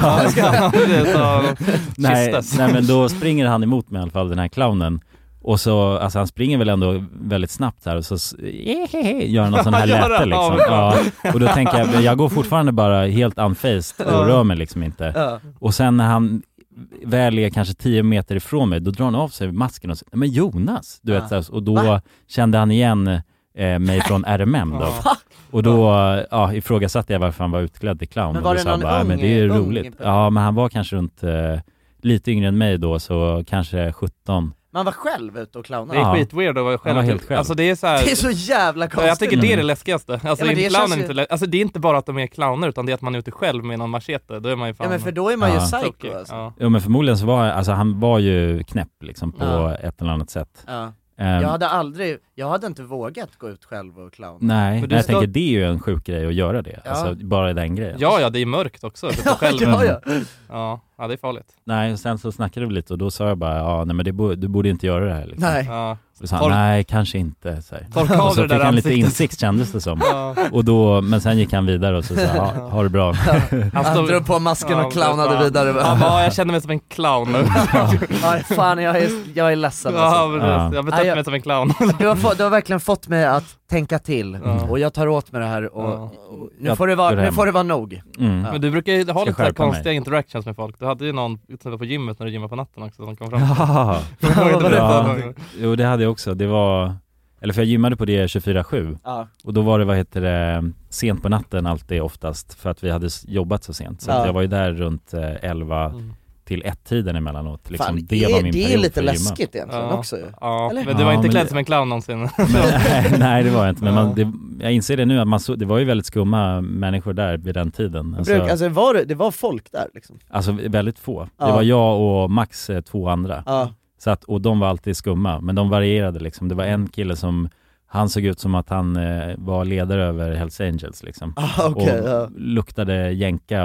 Speaker 8: nej, nej men då springer han emot mig i alla fall, den här clownen. Och så, alltså han springer väl ändå väldigt snabbt här och så s- eh, gör han någon sån här
Speaker 3: Gör han?
Speaker 8: läte liksom.
Speaker 3: [LAUGHS] Ja, [LAUGHS]
Speaker 8: Ja,
Speaker 3: bra.
Speaker 8: och då tänker jag, men jag går fortfarande bara helt unfaced och
Speaker 3: Ja.
Speaker 8: rör mig liksom inte.
Speaker 3: Ja.
Speaker 8: Och sen när han väl är kanske 10 meter ifrån mig, då drar han av sig masken och säger men Jonas! Du
Speaker 3: Ja.
Speaker 8: vet, så här, och då
Speaker 3: Va?
Speaker 8: kände han igen eh, mig från RMM då.
Speaker 3: Ja.
Speaker 8: Och då ja, ifrågasatte jag varför han var utklädd till clown.
Speaker 3: Men
Speaker 8: Och
Speaker 3: var
Speaker 8: då
Speaker 3: det
Speaker 8: sa han
Speaker 3: någon
Speaker 8: bara, "Ja, men
Speaker 3: ung-
Speaker 8: det är ju
Speaker 3: ung
Speaker 8: roligt. Ja, men han var kanske runt eh, lite yngre än mig då, så kanske 17.
Speaker 2: Man var själv ute och clownade.
Speaker 1: Det är skitweird att vara själv.
Speaker 8: var helt själv.
Speaker 1: Alltså det är så här,
Speaker 2: Det är så jävla konstigt.
Speaker 1: Jag tycker det är det
Speaker 2: Mm.
Speaker 1: läskigaste. Alltså,
Speaker 2: Ja, men
Speaker 1: det
Speaker 2: det
Speaker 1: är clownen
Speaker 2: känns ju-
Speaker 1: inte lä- alltså det är inte bara att de är clowner utan det är att man är ute själv med någon machete, då är man ju fan
Speaker 2: Ja men för då är man ju
Speaker 8: Ja.
Speaker 2: psycho
Speaker 1: tokig.
Speaker 2: alltså.
Speaker 1: Ja.
Speaker 8: Jo men förmodligen så var alltså, han var ju knäpp liksom på
Speaker 2: Ja.
Speaker 8: ett eller annat sätt.
Speaker 2: Ja.
Speaker 8: Ehm,
Speaker 2: Jag hade aldrig, jag hade inte vågat gå ut själv och clowna.
Speaker 8: Nej,
Speaker 2: För
Speaker 8: men
Speaker 2: du
Speaker 8: jag
Speaker 2: ska-
Speaker 8: tänker det är ju en sjuk grej att göra det.
Speaker 2: Ja.
Speaker 8: Alltså bara den grejen.
Speaker 1: Ja ja, det är mörkt också.
Speaker 2: [LAUGHS]
Speaker 1: Det är
Speaker 2: [LAUGHS] Ja,
Speaker 1: själv.
Speaker 2: ja, ja.
Speaker 1: ja, ja, det är farligt.
Speaker 8: Nej, och sen så snackade vi lite och då sa jag bara, ja nej men det bo, du borde inte göra det här liksom.
Speaker 1: Nej. Ja.
Speaker 8: Och då sa han,
Speaker 1: Tork-
Speaker 8: nej kanske inte. [LAUGHS] Så här.
Speaker 1: Torka av
Speaker 8: och så
Speaker 1: det där
Speaker 8: fick han lite
Speaker 1: ansiktet.
Speaker 8: insikt kändes det som.
Speaker 1: Ja.
Speaker 8: Och då, men sen gick han vidare och så sa, ja, ha det bra.
Speaker 2: Han drog på masken och clownade
Speaker 1: precis.
Speaker 2: vidare. [LAUGHS]
Speaker 1: Han bara, "Ja, jag känner mig som en clown nu.
Speaker 2: Ja, fan jag är, jag är ledsen
Speaker 1: Ja,
Speaker 2: alltså.
Speaker 1: precis. Jag har betett
Speaker 2: Ja, jag-
Speaker 1: mig som en clown.
Speaker 2: du, har få, du har verkligen fått mig att tänka till och jag tar åt mig det här och, och nu, får det vara, nu får det vara nog.
Speaker 8: Mm.
Speaker 2: Ja.
Speaker 1: Men du brukar ju ha
Speaker 2: Ska
Speaker 1: lite så här
Speaker 2: skärpa mig.
Speaker 1: konstiga interactions med folk. Du hade ju någon utanför på gymmet när du gymmade på natten också som kom fram [LAUGHS]
Speaker 8: Ja.
Speaker 1: till dig. Du berättade
Speaker 8: ja.
Speaker 1: någon gång.
Speaker 8: [LAUGHS] Jo det hade jag också, det var, eller för jag gymmade på det 24-7
Speaker 2: Ja.
Speaker 8: och då var det, vad heter det, sent på natten alltid oftast för att vi hade s- jobbat så sent. Så
Speaker 2: Ja.
Speaker 8: att jag var ju där runt eh, 11
Speaker 1: Mm.
Speaker 8: till 1-tiden emellanåt. Liksom,
Speaker 2: Fan,
Speaker 8: det var min
Speaker 2: det är
Speaker 8: period
Speaker 2: lite
Speaker 8: för att gymma.
Speaker 2: läskigt egentligen
Speaker 1: Ja.
Speaker 2: också ju.
Speaker 1: Ja,
Speaker 2: Eller?
Speaker 1: men du var
Speaker 8: Ja,
Speaker 1: inte
Speaker 8: men
Speaker 1: klädd
Speaker 8: det-
Speaker 1: som en clown någonsin. [LAUGHS]
Speaker 8: Men, [LAUGHS] nej det var jag inte, men man, det, jag inser det nu att man så, det var ju väldigt skumma människor där vid den tiden. Alltså,
Speaker 2: Bruk, alltså var det, det var folk där liksom.
Speaker 8: alltså väldigt få.
Speaker 2: Ja.
Speaker 8: Det var jag och max eh, två andra.
Speaker 2: Ja.
Speaker 8: Så att, och de var alltid skumma, men de varierade liksom. Det var
Speaker 2: Mm.
Speaker 8: en kille som, han såg ut som att han eh, var ledare över Hells Angels liksom.
Speaker 2: Ah, okej,
Speaker 8: och
Speaker 2: ja.
Speaker 8: luktade jänka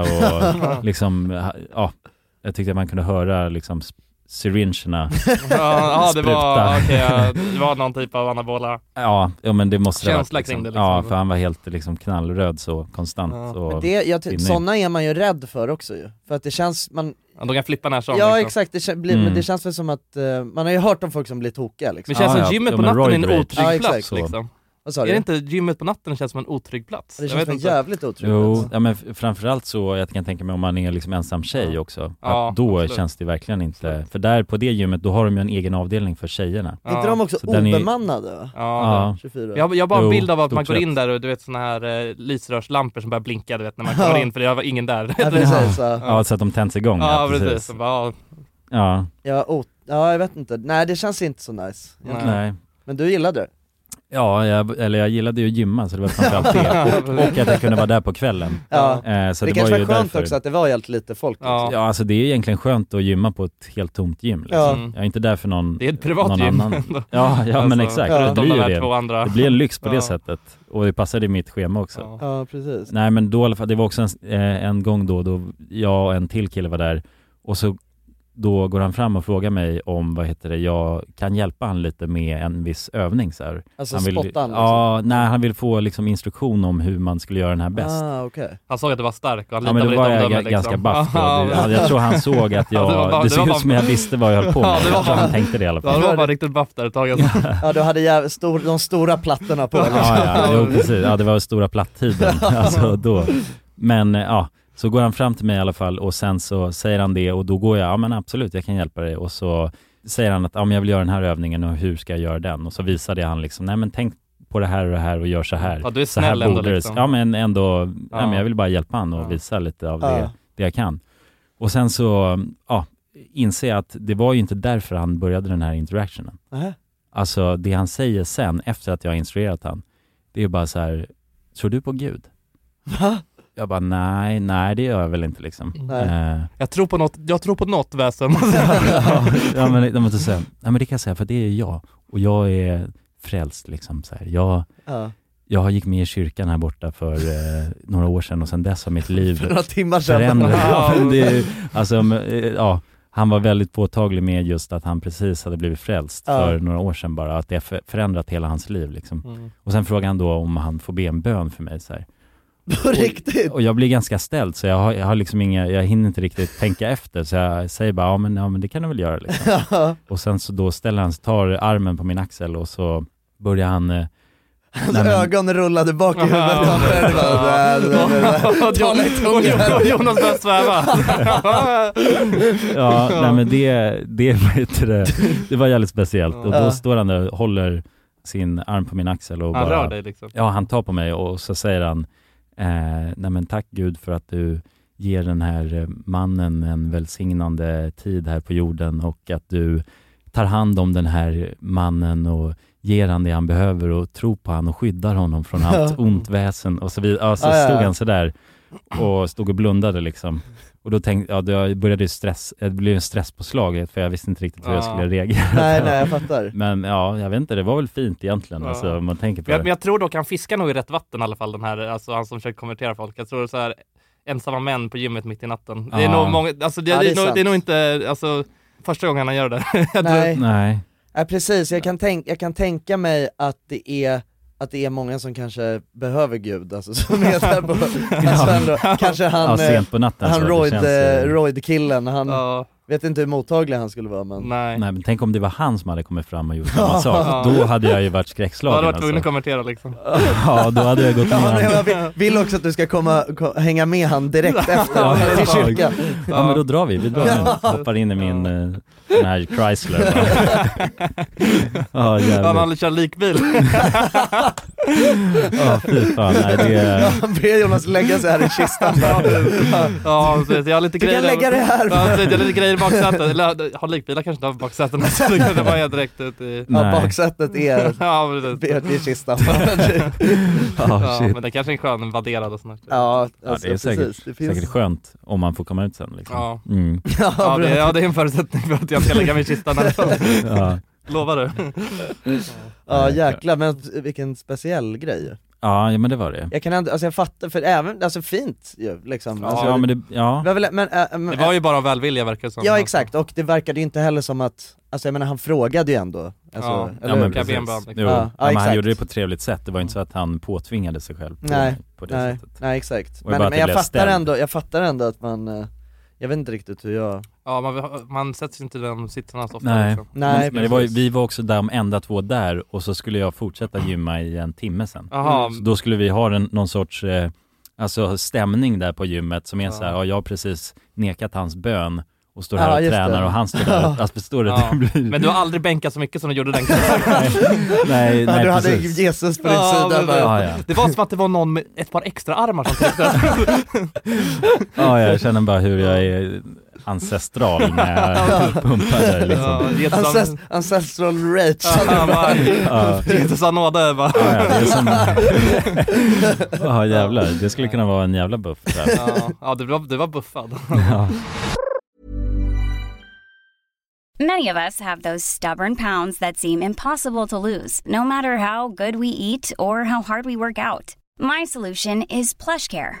Speaker 2: [LAUGHS]
Speaker 8: [LAUGHS] och liksom, ha- ja, jag tyckte man kunde höra liksom s-
Speaker 2: [LAUGHS]
Speaker 8: syringerna
Speaker 1: Ja, ja, det var,
Speaker 8: spruta.
Speaker 1: okej, ja, det var någon typ av anabola.
Speaker 8: Ja, ja men det måste det ha
Speaker 1: Känsla
Speaker 8: varit,
Speaker 1: kring det, liksom.
Speaker 8: Ja, för han var helt liksom knallröd så konstant. Och
Speaker 2: Det, jag, ty-
Speaker 8: inne i-
Speaker 2: såna är man ju rädd för också ju, för att det känns, man...
Speaker 1: Ja, de kan flippa när som
Speaker 2: Ja
Speaker 1: liksom.
Speaker 2: exakt, det, kän- blir, men
Speaker 8: Mm.
Speaker 2: det
Speaker 8: Ah,
Speaker 2: känns väl som att, eh, man har ju hört om folk som blir tokiga liksom.
Speaker 1: Men det känns som gymmet på natten är en otrygg plats liksom.
Speaker 2: Vad sa
Speaker 1: Är
Speaker 2: du?
Speaker 1: det inte gymmet på natten känns som en otrygg plats?
Speaker 2: Det
Speaker 1: Jag
Speaker 2: känns
Speaker 1: vet
Speaker 2: som
Speaker 1: inte.
Speaker 2: jävligt otryggt.
Speaker 8: Jo, ja, men f- framförallt så, jag kan tänka mig om man är liksom ensam tjej också, att
Speaker 1: Ja,
Speaker 8: då
Speaker 1: absolut.
Speaker 8: känns det verkligen inte, för där på det gymmet, då har de ju en egen avdelning för tjejerna.
Speaker 2: Är inte de också
Speaker 8: Så den är-
Speaker 2: obemannade?
Speaker 8: Ja.
Speaker 2: 24.
Speaker 1: Jag, jag har bara en
Speaker 8: Jo,
Speaker 1: bild av att man
Speaker 8: stort
Speaker 1: går
Speaker 8: sett.
Speaker 1: in där och du vet såna här eh, lysrörslampor som börjar blinka du vet när man kommer in för det var ingen där.
Speaker 2: [LAUGHS] Ja, precis, alltså. ja.
Speaker 8: Ja, så att de tänds igång,
Speaker 1: Ja,
Speaker 8: ja,
Speaker 1: precis.
Speaker 8: precis.
Speaker 1: Så Bara,
Speaker 8: Ja,
Speaker 2: Ja, o- ja, jag vet inte. Nej, det känns inte så nice. egentligen.
Speaker 8: nej.
Speaker 2: Men du gillade det?
Speaker 8: Ja, jag, eller jag gillade ju att gymma så det var framförallt
Speaker 1: [LAUGHS]
Speaker 8: det. Och, och att jag kunde vara där på kvällen.
Speaker 2: Ja.
Speaker 8: Eh, så
Speaker 2: det,
Speaker 8: det,
Speaker 2: kanske
Speaker 8: var
Speaker 2: var,
Speaker 8: ju
Speaker 2: skönt
Speaker 8: därför.
Speaker 2: också att det var helt lite folk.
Speaker 8: Ja.
Speaker 2: liksom.
Speaker 8: alltså det är ju egentligen skönt att gymma på ett helt tomt gym liksom.
Speaker 2: Ja.
Speaker 8: Jag är inte där för någon
Speaker 1: Mm. Det är ett privat [LAUGHS]
Speaker 8: någon
Speaker 1: gym
Speaker 8: annan.
Speaker 1: ändå.
Speaker 8: Ja, ja men
Speaker 1: Alltså,
Speaker 8: exakt.
Speaker 1: förutom
Speaker 8: Det blir
Speaker 1: de
Speaker 8: ju
Speaker 1: här
Speaker 8: det.
Speaker 1: två andra.
Speaker 8: Det blir en lyx på
Speaker 1: Ja.
Speaker 8: det sättet. Och det passade i mitt schema också.
Speaker 2: Ja, precis.
Speaker 8: Nej men då i alla fall, det var också en, eh, en gång då, då jag och en till kille var där och så då går han fram och frågar mig om, vad heter det, jag kan hjälpa han lite med en viss övning så här.
Speaker 2: Alltså,
Speaker 8: han vill,
Speaker 2: spotta han, liksom?
Speaker 8: Ja, nej han vill få liksom instruktion om hur man skulle göra den här bäst.
Speaker 2: Ah, okej.
Speaker 1: han såg att du var stark och han
Speaker 8: Ja men
Speaker 1: litade på ditt
Speaker 8: då var jag
Speaker 1: omdöme
Speaker 8: ga-
Speaker 1: liksom.
Speaker 8: ganska baff då.
Speaker 1: Ja, [LAUGHS]
Speaker 8: Det- jag tror han såg att jag,
Speaker 1: Ja, du var bara- du var
Speaker 8: det såg ut
Speaker 1: bara-
Speaker 8: som jag visste vad jag höll på med.
Speaker 1: Ja, du var
Speaker 8: Jag tror
Speaker 1: bara-
Speaker 8: han tänkte det i alla
Speaker 1: Ja,
Speaker 8: fall.
Speaker 1: du var bara riktigt baff där ett tag alltså.
Speaker 2: Ja, du hade jäv- stor, de stora plattorna på. liksom.
Speaker 8: Ja, ja,
Speaker 2: [LAUGHS]
Speaker 8: jo, precis. Ja, det var stora plattiden. Alltså, då. Men eh, ja, så går han fram till mig i alla fall och sen så säger han det och då går jag, ja men absolut, jag kan hjälpa dig. Och så säger han att, ja men jag vill göra den här övningen och hur ska jag göra den? Och så visade jag han liksom, nej men tänk på det här och det här och gör så här.
Speaker 1: Ja, du är
Speaker 8: så här
Speaker 1: snäll ändå
Speaker 8: borde det-
Speaker 1: liksom.
Speaker 8: Ja men ändå, nej,
Speaker 1: Ja.
Speaker 8: men jag vill bara hjälpa han och visa lite av
Speaker 2: Ja.
Speaker 8: det, det jag kan. Och sen så, ja, inser jag att det var ju inte därför han började den här interactionen.
Speaker 2: Nähä.
Speaker 8: Alltså det han säger sen efter att jag har instruerat han Det är bara så här, tror du på Gud?
Speaker 2: Va?
Speaker 8: Jag bara nej, nej det gör jag väl inte liksom
Speaker 1: Nej.
Speaker 8: Eh, [LAUGHS]
Speaker 1: Jag tror på något, jag tror på något väsen.
Speaker 8: ja, men, de måste säga, nej men det kan jag säga för det är jag och jag är frälst liksom så här. Jag,
Speaker 2: Ja.
Speaker 8: jag gick med i kyrkan här borta för eh, några år sedan och sedan dess har
Speaker 2: [LAUGHS]
Speaker 8: mitt liv
Speaker 2: För några timmar sedan.
Speaker 8: förändrats.
Speaker 2: Ja.
Speaker 8: Ja, men det är ju- alltså, men, eh, ja, han var väldigt påtaglig med just att han precis hade blivit frälst
Speaker 2: Ja.
Speaker 8: för några år sedan bara, att det har för- förändrat hela hans liv liksom. Och sen frågade han då om han får be en bön för mig så här.
Speaker 2: På riktigt?
Speaker 8: Och jag blir ganska ställd så jag har, jag har liksom inga, jag hinner inte riktigt tänka efter så jag säger bara, ja men, ja, men det kan du väl göra liksom. Och sen så då ställer han, tar armen på min axel och så börjar han eh,
Speaker 2: Hans
Speaker 8: nej, men-
Speaker 2: ögon rullade bak i huvudet. Han började bara... Tala i tungan.
Speaker 1: Och Jonas började sväva. [LAUGHS]
Speaker 8: Ja, nej men det, det, [LAUGHS] vad heter det, det var jävligt speciellt. Och
Speaker 1: Ja.
Speaker 8: då står han där och håller sin arm på min axel och
Speaker 1: Han
Speaker 8: bara,
Speaker 1: rör dig liksom.
Speaker 8: Ja, han tar på mig och så säger han, eh, nej men tack Gud för att du ger den här eh, mannen en välsignande tid här på jorden och att du tar hand om den här mannen och ger han det han behöver och tror på han och skyddar honom från allt
Speaker 2: Ja.
Speaker 8: ont väsen och så vidare. Ja, så
Speaker 2: Ja, ja,
Speaker 8: stod
Speaker 2: ja.
Speaker 8: han sådär och stod och blundade liksom. Och då tänkte jag, då började ju stress, det blev en stresspåslag för jag visste inte riktigt hur jag
Speaker 1: Ja.
Speaker 8: skulle reagera.
Speaker 2: Nej, nej, jag fattar.
Speaker 8: Men ja, jag vet inte, det var väl fint egentligen
Speaker 1: Ja.
Speaker 8: alltså, om man tänker på
Speaker 1: Men jag,
Speaker 8: det.
Speaker 1: men jag tror dock han fiskar nog i rätt vatten i alla fall, den här, alltså han som försöker konvertera folk. Jag tror så här ensamma män på gymmet mitt i natten. Det är
Speaker 8: Ja.
Speaker 1: nog många, alltså det,
Speaker 2: Ja,
Speaker 1: det,
Speaker 2: det
Speaker 1: är
Speaker 2: är
Speaker 1: nog,
Speaker 2: sant.
Speaker 1: det är nog inte, alltså första gången han gör det. Jag tror-
Speaker 2: Nej.
Speaker 8: Nej.
Speaker 2: Ja, precis, jag kan, tänk, jag kan tänka mig att det är att det är många som kanske behöver Gud, alltså som är där på, alltså, ändå, kanske han,
Speaker 8: Ja, sent
Speaker 2: eh,
Speaker 8: på natten så,
Speaker 2: han
Speaker 8: det
Speaker 2: Royd,
Speaker 8: känns,
Speaker 2: eh,
Speaker 8: eh,
Speaker 2: Royd-killen, han
Speaker 1: Ja.
Speaker 2: vet inte hur mottaglig han skulle vara men
Speaker 1: [LAUGHS] Nej.
Speaker 8: Nej men tänk om det var han som hade kommit fram
Speaker 2: [LAUGHS]
Speaker 8: och gjort samma sak, då hade jag ju varit
Speaker 1: Då hade
Speaker 8: skräckslagen
Speaker 1: du varit tvungen att
Speaker 8: alltså.
Speaker 1: konvertera liksom.
Speaker 8: Ja, då hade jag gått med
Speaker 2: Ja,
Speaker 8: han.
Speaker 2: nej, jag vill, vill också att du ska komma, ko, hänga med han direkt
Speaker 8: Ja,
Speaker 2: efter till
Speaker 8: ja.
Speaker 2: kyrkan.
Speaker 8: Ja men då drar vi, vi drar nu. Hoppar in i min, eh, den här Chrysler bara. Ja
Speaker 1: han
Speaker 8: jävlar.
Speaker 1: hade kört likbil.
Speaker 8: Ja fy fan, nej det är...
Speaker 2: Han ber Jonas lägga sig här i kistan.
Speaker 1: Ja, precis. Jag har lite
Speaker 2: Du kan
Speaker 1: grejer
Speaker 2: lägga det här.
Speaker 1: Ja, precis. Jag har lite grejer i baksätet. Eller har likbilar kanske inte har baksäten. Så det kan det vara direkt ut i...
Speaker 2: Ja,
Speaker 8: Nej.
Speaker 2: baksätet är
Speaker 1: Ja, precis.
Speaker 2: ber till kistan.
Speaker 8: Ja
Speaker 1: Ja,
Speaker 8: Oh, shit.
Speaker 1: men det kanske är en skön vadderad och sånt. där.
Speaker 2: Ja,
Speaker 8: [LAUGHS] Ja
Speaker 2: alltså,
Speaker 8: det är
Speaker 2: precis.
Speaker 8: säkert,
Speaker 2: Det finns...
Speaker 8: säkert skönt om man får komma ut sen
Speaker 1: Ja.
Speaker 8: liksom. Mm.
Speaker 1: Ja,
Speaker 2: Ja,
Speaker 1: det,
Speaker 2: bra.
Speaker 1: ja, det är en förutsättning för att jag ska lägga mig i kistan.
Speaker 8: Ja.
Speaker 1: Lovar du?
Speaker 2: ja jäklar, men vilken speciell grej.
Speaker 8: Ja men det var det.
Speaker 2: Jag kan ändå, alltså jag fattar, för även, alltså fint ju liksom. alltså,
Speaker 8: Ja men det, ja.
Speaker 2: det var väl, men, äh,
Speaker 1: Det
Speaker 2: men,
Speaker 1: var ju bara av välvilja verkar det som.
Speaker 2: ja exakt, och det verkade ju inte heller som att, alltså jag menar han frågade ju ändå. Alltså,
Speaker 1: Ja.
Speaker 8: Ja men
Speaker 1: Kan
Speaker 8: precis.
Speaker 1: jag be en bön,
Speaker 8: Jo,
Speaker 1: liksom?
Speaker 2: Ja,
Speaker 8: ja,
Speaker 2: ja,
Speaker 8: men han
Speaker 2: exakt.
Speaker 8: gjorde det på ett trevligt sätt, det var inte så att han påtvingade sig själv på,
Speaker 2: Nej,
Speaker 8: på det
Speaker 2: nej,
Speaker 8: sättet.
Speaker 2: nej exakt.
Speaker 8: Och bara
Speaker 2: Men,
Speaker 8: att
Speaker 2: men
Speaker 8: det
Speaker 2: jag
Speaker 8: blev
Speaker 2: fattar
Speaker 8: ställd.
Speaker 2: ändå, jag fattar ändå att man, eh, jag vet inte riktigt hur jag
Speaker 1: Ja, man, man sätts ju inte i den sitsen så ofta.
Speaker 8: Nej,
Speaker 1: liksom.
Speaker 8: men, men det var, ju- vi var också de enda två där och så skulle jag fortsätta gymma i en timme sen.
Speaker 1: Jaha.
Speaker 8: Så då skulle vi ha en, någon sorts eh, alltså stämning där på gymmet som är så här, ja, jag har precis nekat hans bön och står här
Speaker 1: Ja,
Speaker 8: och
Speaker 1: just
Speaker 8: tränar
Speaker 1: det.
Speaker 8: och han står där och alltså, förstår
Speaker 1: [LAUGHS]
Speaker 8: du?
Speaker 1: Ja.
Speaker 8: Det blir...
Speaker 1: Men du har aldrig bänkat så mycket som du gjorde den kvällen.
Speaker 8: [LAUGHS] nej, nej, precis.
Speaker 1: Ja, men det-
Speaker 8: Ja, ja.
Speaker 1: Det var som att det var någon med ett par extra armar som tryckte.
Speaker 8: ja, jag känner bara hur jag är ancestral när
Speaker 1: [LAUGHS]
Speaker 8: jag pumpar där liksom.
Speaker 2: Alltså,
Speaker 12: Ancest- Ancestral rage.
Speaker 1: Ja, bara- Jesus har nåde bara.
Speaker 8: Ja, ja, det är som...
Speaker 1: [LAUGHS]
Speaker 8: [LAUGHS] Ja, jävlar. Det skulle kunna vara en jävla buff där.
Speaker 1: Ja, [LAUGHS] ja du, var, du var buffad.
Speaker 8: Ja.
Speaker 13: Many of us have those stubborn pounds that seem impossible to lose, no matter how good we eat or how hard we work out. My solution is PlushCare.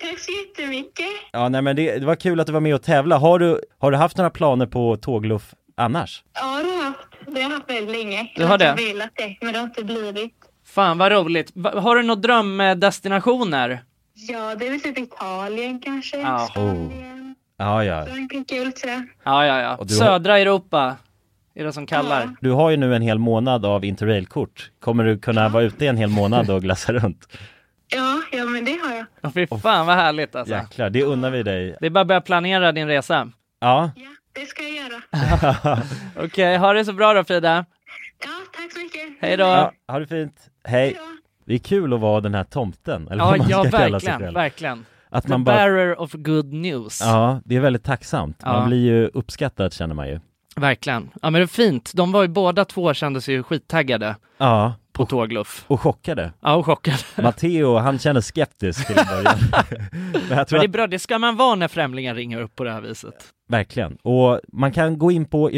Speaker 14: Tack så jättemycket.
Speaker 3: Ja, nej men det, det var kul att du var med och tävla. Har du, har du haft några planer på tågluff annars?
Speaker 14: Ja, det har jag haft. Det har jag haft väldigt länge.
Speaker 2: Du har det?
Speaker 14: Jag har velat det, men det har inte blivit.
Speaker 2: Fan vad roligt. Va- Har du några drömdestinationer?
Speaker 14: Ja, det är väl typ Italien kanske.
Speaker 15: Ja.
Speaker 14: Spanien.
Speaker 3: Ja, ja.
Speaker 14: Frankrike vill säga.
Speaker 15: Ja, ja, ja.
Speaker 3: Och du har-
Speaker 15: Södra Europa är det som kallar.
Speaker 3: Du har ju nu en hel månad av interrailkort. Kommer du kunna vara ute i en hel månad och glassa runt?
Speaker 14: Ja, ja men det har jag.
Speaker 15: Åh, fy fan vad härligt alltså.
Speaker 3: Jäklar, det unnar vi dig.
Speaker 15: Det är bara att börja planera din resa.
Speaker 3: Ja.
Speaker 14: Det ska jag göra.
Speaker 15: [LAUGHS] Okej, ha det så bra då Frida.
Speaker 14: Ja, tack så mycket.
Speaker 15: Hej då.
Speaker 3: ja ha det fint. Hej. Det är kul att vara den här tomten. Eller
Speaker 15: Ja,
Speaker 3: vad man
Speaker 15: ja
Speaker 3: ska kalla sig
Speaker 15: verkligen,
Speaker 3: själv.
Speaker 15: verkligen.
Speaker 3: Att
Speaker 15: The
Speaker 3: man bara...
Speaker 15: bearer of good news.
Speaker 3: Ja, det är väldigt tacksamt.
Speaker 15: Ja.
Speaker 3: Man blir ju uppskattad känner man ju.
Speaker 15: Verkligen. Ja men det är fint. De var ju båda två kändes ju skittaggade
Speaker 3: Ja.
Speaker 15: på tågluff.
Speaker 3: Och chockade.
Speaker 15: Ja, och chockade.
Speaker 3: [LAUGHS] Matteo, han känner skeptisk till en
Speaker 15: [LAUGHS]
Speaker 3: början. Men jag tror
Speaker 15: Men det är
Speaker 3: att-
Speaker 15: bra, det ska man vara när främlingar ringer upp på det här viset.
Speaker 3: Verkligen. Och man kan gå in på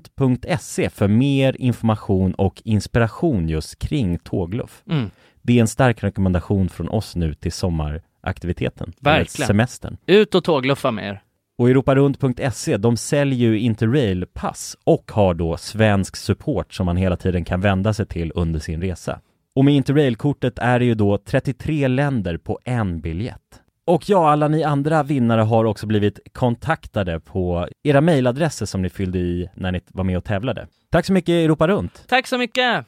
Speaker 3: europarunt.se för mer information och inspiration just kring tågluff.
Speaker 15: Mm.
Speaker 3: Det är en stark rekommendation från oss nu till sommaraktiviteten. eller
Speaker 15: Verkligen.
Speaker 3: Semestern.
Speaker 15: Ut och tågluffa med er.
Speaker 3: Och europarunt.se, E, de säljer ju Interrail-pass och har då svensk support som man hela tiden kan vända sig till under sin resa. Och med Interrail-kortet är det ju då 33 länder på en biljett. Och ja, alla ni andra vinnare har också blivit kontaktade på era mejladresser som ni fyllde i när ni var med och tävlade. Tack så mycket Europa Runt!
Speaker 15: Tack så mycket!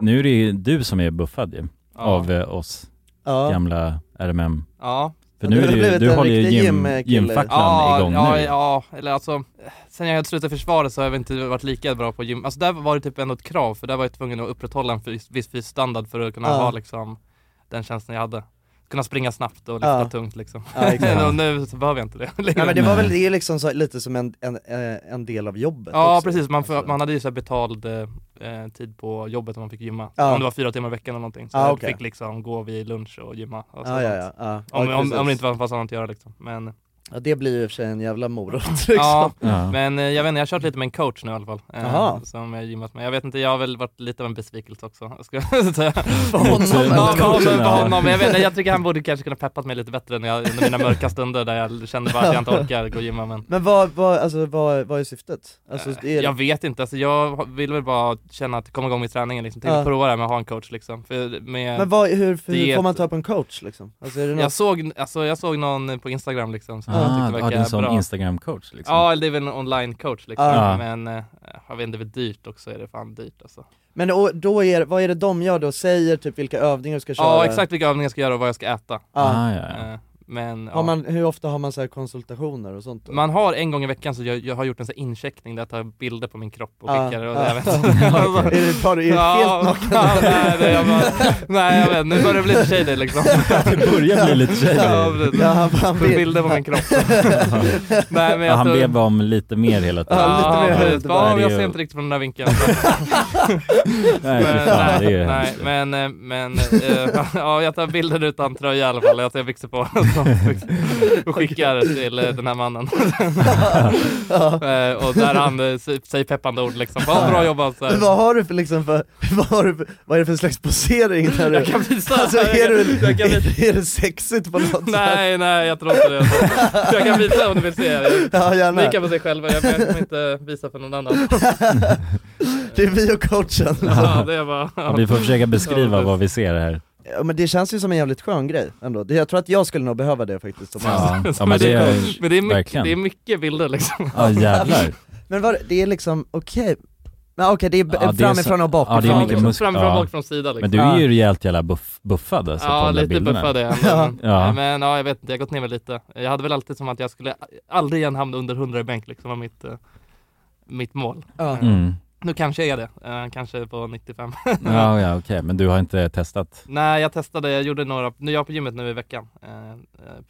Speaker 8: Nu är det ju du som är buffad ju, av eh, oss
Speaker 2: Ja.
Speaker 8: gamla RMM.
Speaker 1: Ja.
Speaker 8: För nu är det ju, du håller ju gym, gymfacklan
Speaker 1: ja,
Speaker 8: igång
Speaker 1: ja,
Speaker 8: nu.
Speaker 1: Ja, eller alltså, sen jag slutade försvaret så har jag väl inte varit lika bra på gym. Alltså där var det typ ändå ett krav, för där var jag tvungen att upprätthålla en fys, viss fysisk standard för att kunna
Speaker 2: Ja.
Speaker 1: ha liksom den känslan jag hade. Kunna springa snabbt och lyfta
Speaker 2: Ja.
Speaker 1: tungt liksom.
Speaker 2: Ja, exakt.
Speaker 1: [LAUGHS] och nu så behöver jag inte det längre.
Speaker 2: Nej men det var väl det är liksom så, lite som en, en, eh, en del av jobbet
Speaker 1: Ja
Speaker 2: också.
Speaker 1: precis, man, får- man hade ju så här betald eh, tid på jobbet om man fick gymma.
Speaker 2: Ja.
Speaker 1: Om det var fyra timmar i veckan eller någonting. Så
Speaker 2: Ja,
Speaker 1: jag
Speaker 2: okej.
Speaker 1: fick liksom gå vid lunch och gymma. Och
Speaker 2: Ja, ja,
Speaker 1: sånt.
Speaker 2: ja, ja.
Speaker 1: Om,
Speaker 2: Ja,
Speaker 1: om,
Speaker 2: precis.
Speaker 1: om det inte var- fanns annat att göra liksom. Men,
Speaker 2: [LAUGHS] Ja det blir ju i och för sig en jävla morot [LAUGHS] liksom.
Speaker 1: ja,
Speaker 8: Ja.
Speaker 1: men eh, jag vet inte, jag har kört lite med en coach nu i alla fall. eh,
Speaker 2: Jaha.
Speaker 1: Som jag har gymmat med. Jag vet inte, jag har väl varit lite av en besvikelse också. [LAUGHS] Ska jag
Speaker 8: [LAUGHS]
Speaker 1: säga.
Speaker 2: För honom
Speaker 1: Ja,
Speaker 2: eller?
Speaker 1: ja, men
Speaker 2: Ja.
Speaker 1: för honom. Jag, vet, inte, jag tycker han borde kanske kunna peppat mig lite bättre när jag, under mina mörka stunder där jag kände bara att jag inte orkar gå och gymma. Men
Speaker 2: Men vad, vad, alltså, vad, vad är syftet? Alltså, [LAUGHS] det är,
Speaker 1: Eh, Jag vet inte, alltså jag vill väl bara känna att komma igång med träningen liksom, till
Speaker 2: Ja.
Speaker 1: att prova det här med att ha en coach liksom. För med
Speaker 2: men vad, hur, hur
Speaker 1: diet-
Speaker 2: får man ta på en coach liksom? Alltså, är det något...
Speaker 1: jag, såg, alltså, jag såg någon på Instagram liksom som
Speaker 8: Ah,
Speaker 1: jag
Speaker 8: ja,
Speaker 1: tyckte
Speaker 8: det är en
Speaker 1: verkade
Speaker 8: sån
Speaker 1: bra.
Speaker 8: Instagram-coach, liksom.
Speaker 1: Ja, eller det är väl en online coach liksom.
Speaker 8: Ah.
Speaker 1: Men eh, jag vet inte, det är väl dyrt också, är det fan dyrt alltså.
Speaker 2: Men och, då är, vad är det de gör då? Säger typ vilka övningar du ska köra?
Speaker 1: Ja, exakt vilka övningar jag ska göra och vad jag ska äta.
Speaker 2: Ah,
Speaker 8: ja,
Speaker 1: Eh, Men
Speaker 2: Har
Speaker 1: ja.
Speaker 2: man, hur ofta har man så här konsultationer och sånt då?
Speaker 1: Man har en gång i veckan så jag, jag har gjort en sån här incheckning där jag tar bilder på min kropp och
Speaker 2: Ah.
Speaker 1: skickar och
Speaker 2: Ah. [LAUGHS]
Speaker 1: jag
Speaker 8: [LAUGHS]
Speaker 1: vet Alltså,
Speaker 2: Är det- har du- är
Speaker 1: [LAUGHS]
Speaker 2: du helt [LAUGHS] naken?
Speaker 1: Ja, nej, det är jag bara, nej jag vet, nu börjar det bli lite shady liksom.
Speaker 8: [LAUGHS] Det börjar bli lite shady.
Speaker 1: Ja, precis.
Speaker 8: Ja, han- han
Speaker 1: På
Speaker 8: vill-
Speaker 1: bilder på min
Speaker 8: [LAUGHS]
Speaker 1: kropp. nej, men
Speaker 8: Ja,
Speaker 1: jag
Speaker 8: han
Speaker 1: tror-
Speaker 8: ber bara om lite mer hela tiden.
Speaker 1: Ja,
Speaker 8: Ja,
Speaker 1: precis.
Speaker 8: det är
Speaker 1: Ja, jag
Speaker 8: ju-
Speaker 1: ser inte riktigt från den där vinkeln.
Speaker 8: Nej, fy fan, det är ju
Speaker 1: nej,
Speaker 8: hemskt.
Speaker 1: men, eh, men eh, [LAUGHS] ja, jag tar bilder utan tröja i alla fall, jag tar byxor på [LAUGHS] och skickar till eh, den här
Speaker 2: [LAUGHS]
Speaker 1: mannen. Eh, och där han eh, s- säger peppande ord liksom, bara bra jobbat så
Speaker 2: [LAUGHS]
Speaker 1: här.
Speaker 2: Men vad har du för liksom för, vad, har du för, vad är det för slags posering? Där du,
Speaker 1: Jag kan visa,
Speaker 2: alltså,
Speaker 1: jag
Speaker 2: är,
Speaker 1: kan-
Speaker 2: du,
Speaker 1: jag kan
Speaker 2: är, är det sexigt på något sätt?
Speaker 1: Nej, nej jag tror inte det. Jag kan visa om du vill se.
Speaker 2: Ja, gärna.
Speaker 1: Ni kan få se själva, jag jag kommer inte visa för
Speaker 2: [LAUGHS]
Speaker 1: någon annan.
Speaker 2: Det är vi och coachen
Speaker 1: Ja, det är bara,
Speaker 8: Ja, vi får försöka beskriva vad vi ser här.
Speaker 2: Ja, men det känns ju som en jävligt skön grej ändå, Det- jag tror att jag skulle nog behöva det faktiskt om
Speaker 1: [LAUGHS]
Speaker 8: Ja,
Speaker 2: jag-
Speaker 8: ja, men det är-
Speaker 1: Men det är mycket,
Speaker 8: verkligen.
Speaker 1: det är mycket bilder liksom.
Speaker 8: Ja, jävlar.
Speaker 2: Men vad, det är liksom, okej, men okej det är b-
Speaker 8: Ja, det är
Speaker 2: framifrån
Speaker 8: så-
Speaker 2: och bakifrån
Speaker 8: Ja, det är mycket
Speaker 2: liksom.
Speaker 8: muskler.
Speaker 1: Framifrån,
Speaker 8: ja.
Speaker 1: bakifrån, sida, liksom.
Speaker 8: Men du är ju
Speaker 1: Ja.
Speaker 8: rejält jävla buff, buffad alltså på
Speaker 1: ja,
Speaker 8: de där
Speaker 1: lite
Speaker 8: bilderna.
Speaker 1: buffad är
Speaker 8: [LAUGHS]
Speaker 1: jag ändå, men,
Speaker 8: Ja.
Speaker 1: ja. men ja, jag vet inte, jag har gått ner mig lite. Jag hade väl alltid som att jag skulle aldrig igen hamna under 100 i bänk liksom, var mitt, eh, mitt mål.
Speaker 2: Ja.
Speaker 1: Eh,
Speaker 8: Mm.
Speaker 1: Nu kanske jag är det, eh, kanske på 95.
Speaker 8: Ja, ja, okej, men du har inte testat?
Speaker 1: [LAUGHS] Nej, jag testade, jag gjorde några, nu är jag på gymmet nu i veckan. Eh, eh,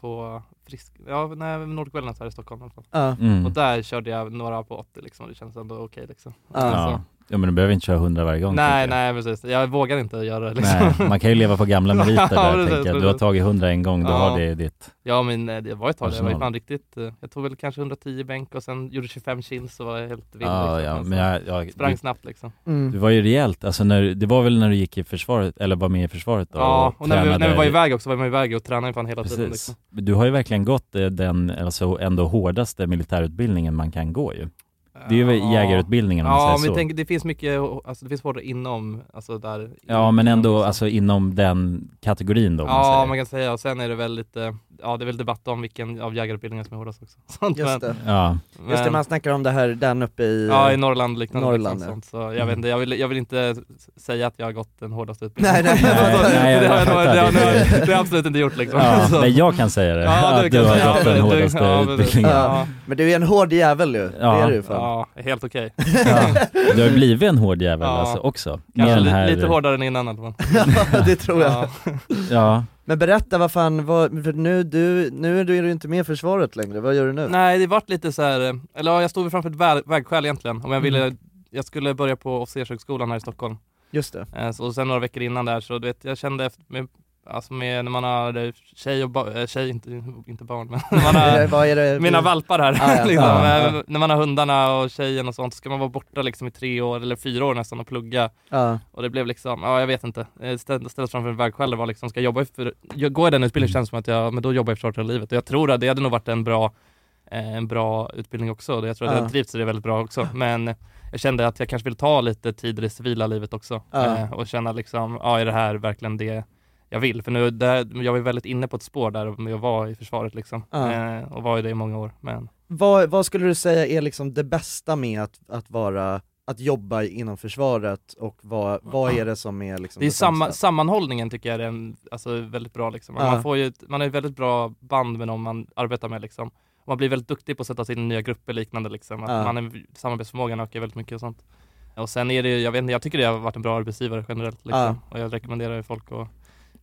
Speaker 1: på frisk, ja, nej, Nordwellness här i Stockholm i alla fall.
Speaker 2: Ja.
Speaker 8: Mm.
Speaker 1: Och där körde jag några på 80 liksom, och det kändes ändå okej liksom.
Speaker 8: Ja.
Speaker 1: Så.
Speaker 8: ja, men du behöver inte köra hundra varje gång.
Speaker 1: Nej,
Speaker 8: tänker
Speaker 1: nej precis. Jag vågar inte göra det
Speaker 8: jag.
Speaker 1: liksom.
Speaker 8: nej. Man kan ju leva på gamla meriter
Speaker 1: [LAUGHS]
Speaker 8: där,
Speaker 1: Ja, precis,
Speaker 8: tänker jag. Du har
Speaker 1: precis.
Speaker 8: tagit hundra en gång, då
Speaker 1: Ja.
Speaker 8: har det ditt...
Speaker 1: Ja men eh, det var ett tag, jag var ju
Speaker 8: Arsenal.
Speaker 1: fan riktigt, eh, jag tog väl kanske 110 bänk och sen gjorde 25 chins och var jag helt vild
Speaker 8: Ja,
Speaker 1: liksom.
Speaker 8: ja,
Speaker 1: så
Speaker 8: men jag, jag,
Speaker 1: Sprang
Speaker 8: du,
Speaker 1: snabbt liksom.
Speaker 2: Mm.
Speaker 8: Du var ju rejält, alltså när, det var väl när du gick i försvaret, eller var med i försvaret då?
Speaker 1: Ja, och när vi,
Speaker 8: tränade-
Speaker 1: när vi var iväg också var man iväg och tränade fan hela tiden
Speaker 8: Precis.
Speaker 1: liksom.
Speaker 8: Du har ju verkligen gått eh, den, alltså ändå hårdaste militärutbildningen man kan gå ju. Det är ju jägarutbildningen om man
Speaker 1: ja,
Speaker 8: säger
Speaker 1: men
Speaker 8: så.
Speaker 1: tänk, det finns mycket, alltså det finns hårdare inom, alltså där.
Speaker 8: Ja men ändå alltså inom den kategorin då om man
Speaker 1: liksom. ja,
Speaker 8: säger.
Speaker 1: man kan säga. Och sen är det väl lite, ja det är väl debatt om vilken av jägarutbildningarna som är hårdast också. [LAUGHS] Sånt,
Speaker 2: Just det.
Speaker 1: [LAUGHS]
Speaker 8: Ja.
Speaker 2: Just det, man snackar om det här, den uppe i...
Speaker 1: Ja, i Norrland liknande.
Speaker 2: Norrland,
Speaker 1: liksom,
Speaker 2: ja.
Speaker 1: sånt. Så jag, vet inte, jag, vill, jag vill inte säga att jag har gått den hårdaste
Speaker 2: Nej,
Speaker 1: utbildningen. [LAUGHS]
Speaker 2: nej.
Speaker 1: det, har jag-
Speaker 2: Nej, jag
Speaker 1: det, har jag nog-
Speaker 2: fattar
Speaker 1: det, har
Speaker 2: det.
Speaker 1: jag nog- det har jag absolut inte gjort liksom.
Speaker 8: Ja,
Speaker 1: [LAUGHS] Så-
Speaker 8: men jag kan säga det,
Speaker 1: Ja,
Speaker 8: att
Speaker 1: du
Speaker 8: du
Speaker 1: kan
Speaker 8: har
Speaker 1: säga
Speaker 8: gått
Speaker 1: det.
Speaker 8: den
Speaker 1: Du-
Speaker 8: hårdaste
Speaker 1: ja, men-
Speaker 8: utbildningen.
Speaker 1: Ja.
Speaker 2: Men du är en hård jävel ju,
Speaker 8: Ja.
Speaker 2: det är du ju fan.
Speaker 1: Ja, helt okej.
Speaker 8: Du har ju blivit en hård jävel
Speaker 1: Ja.
Speaker 8: alltså också. Med
Speaker 1: Kanske
Speaker 8: den
Speaker 1: li-
Speaker 8: här...
Speaker 1: lite hårdare än innan i alla fall.
Speaker 2: Ja, [LAUGHS] det tror jag.
Speaker 8: Ja.
Speaker 2: Men berätta vad fan, vad, för nu, du, nu är du ju inte med i försvaret längre, vad gör du nu?
Speaker 1: Nej, det vart lite så här, eh, eller ja, jag stod väl framför ett väl- vägskäl egentligen. Om jag ville,
Speaker 2: Mm.
Speaker 1: jag skulle börja på officershögskolan här i Stockholm.
Speaker 2: Just det.
Speaker 1: Eh, Så, och sen några veckor innan där så du vet, jag kände efter, med, alltså med, när man har eh, tjej och ba- eh, tjej, inte, inte barn men [LAUGHS] när
Speaker 2: [LAUGHS]
Speaker 1: man har,
Speaker 2: Vad är det?
Speaker 1: mina valpar här.
Speaker 2: eh, Ah, ja.
Speaker 1: [LAUGHS] liksom,
Speaker 2: Ah, ja.
Speaker 1: eh, När man har hundarna och tjejen och sånt så ska man vara borta liksom i tre år eller fyra år nästan och plugga.
Speaker 2: Ja.
Speaker 1: Och det blev liksom, ja jag vet inte, Eh, stä- ställas framför en vägskäl det var liksom, ska jag jobba i för, jag går i den
Speaker 2: Mm.
Speaker 1: utbildningen känns som att jag, men då jobbar jag i försvaret hela livet. Och jag tror att det hade nog varit en bra, eh, en bra utbildning också. Jag tror att
Speaker 2: Ja.
Speaker 1: jag trivs i det väldigt bra också. Men jag kände att jag kanske vill ta lite tid i det civila livet också.
Speaker 2: Ja.
Speaker 1: Eh, och känna liksom, ja är det här verkligen det jag vill? För nu, där, jag var ju väldigt inne på ett spår där med att vara i försvaret liksom.
Speaker 2: Ja.
Speaker 1: Eh, och var ju det i många år. Men
Speaker 2: Vad, vad skulle du säga är liksom det bästa med att, att vara, att jobba inom försvaret och vad, vad är det som är liksom
Speaker 1: det är samma,
Speaker 2: sämsta?
Speaker 1: sammanhållningen tycker jag är en, alltså, väldigt bra. Liksom.
Speaker 2: Ja.
Speaker 1: Man, får ju, ett- man har ju väldigt bra band med någon man arbetar med. Liksom. Man blir väldigt duktig på att sätta sig in i nya grupper och liknande. Liksom. Att
Speaker 2: Ja.
Speaker 1: man är, samarbetsförmågan ökar väldigt mycket och sånt. Och sen är det ju- jag vet inte, jag tycker det har varit en bra arbetsgivare generellt. Liksom.
Speaker 2: Ja.
Speaker 1: Och jag rekommenderar ju folk att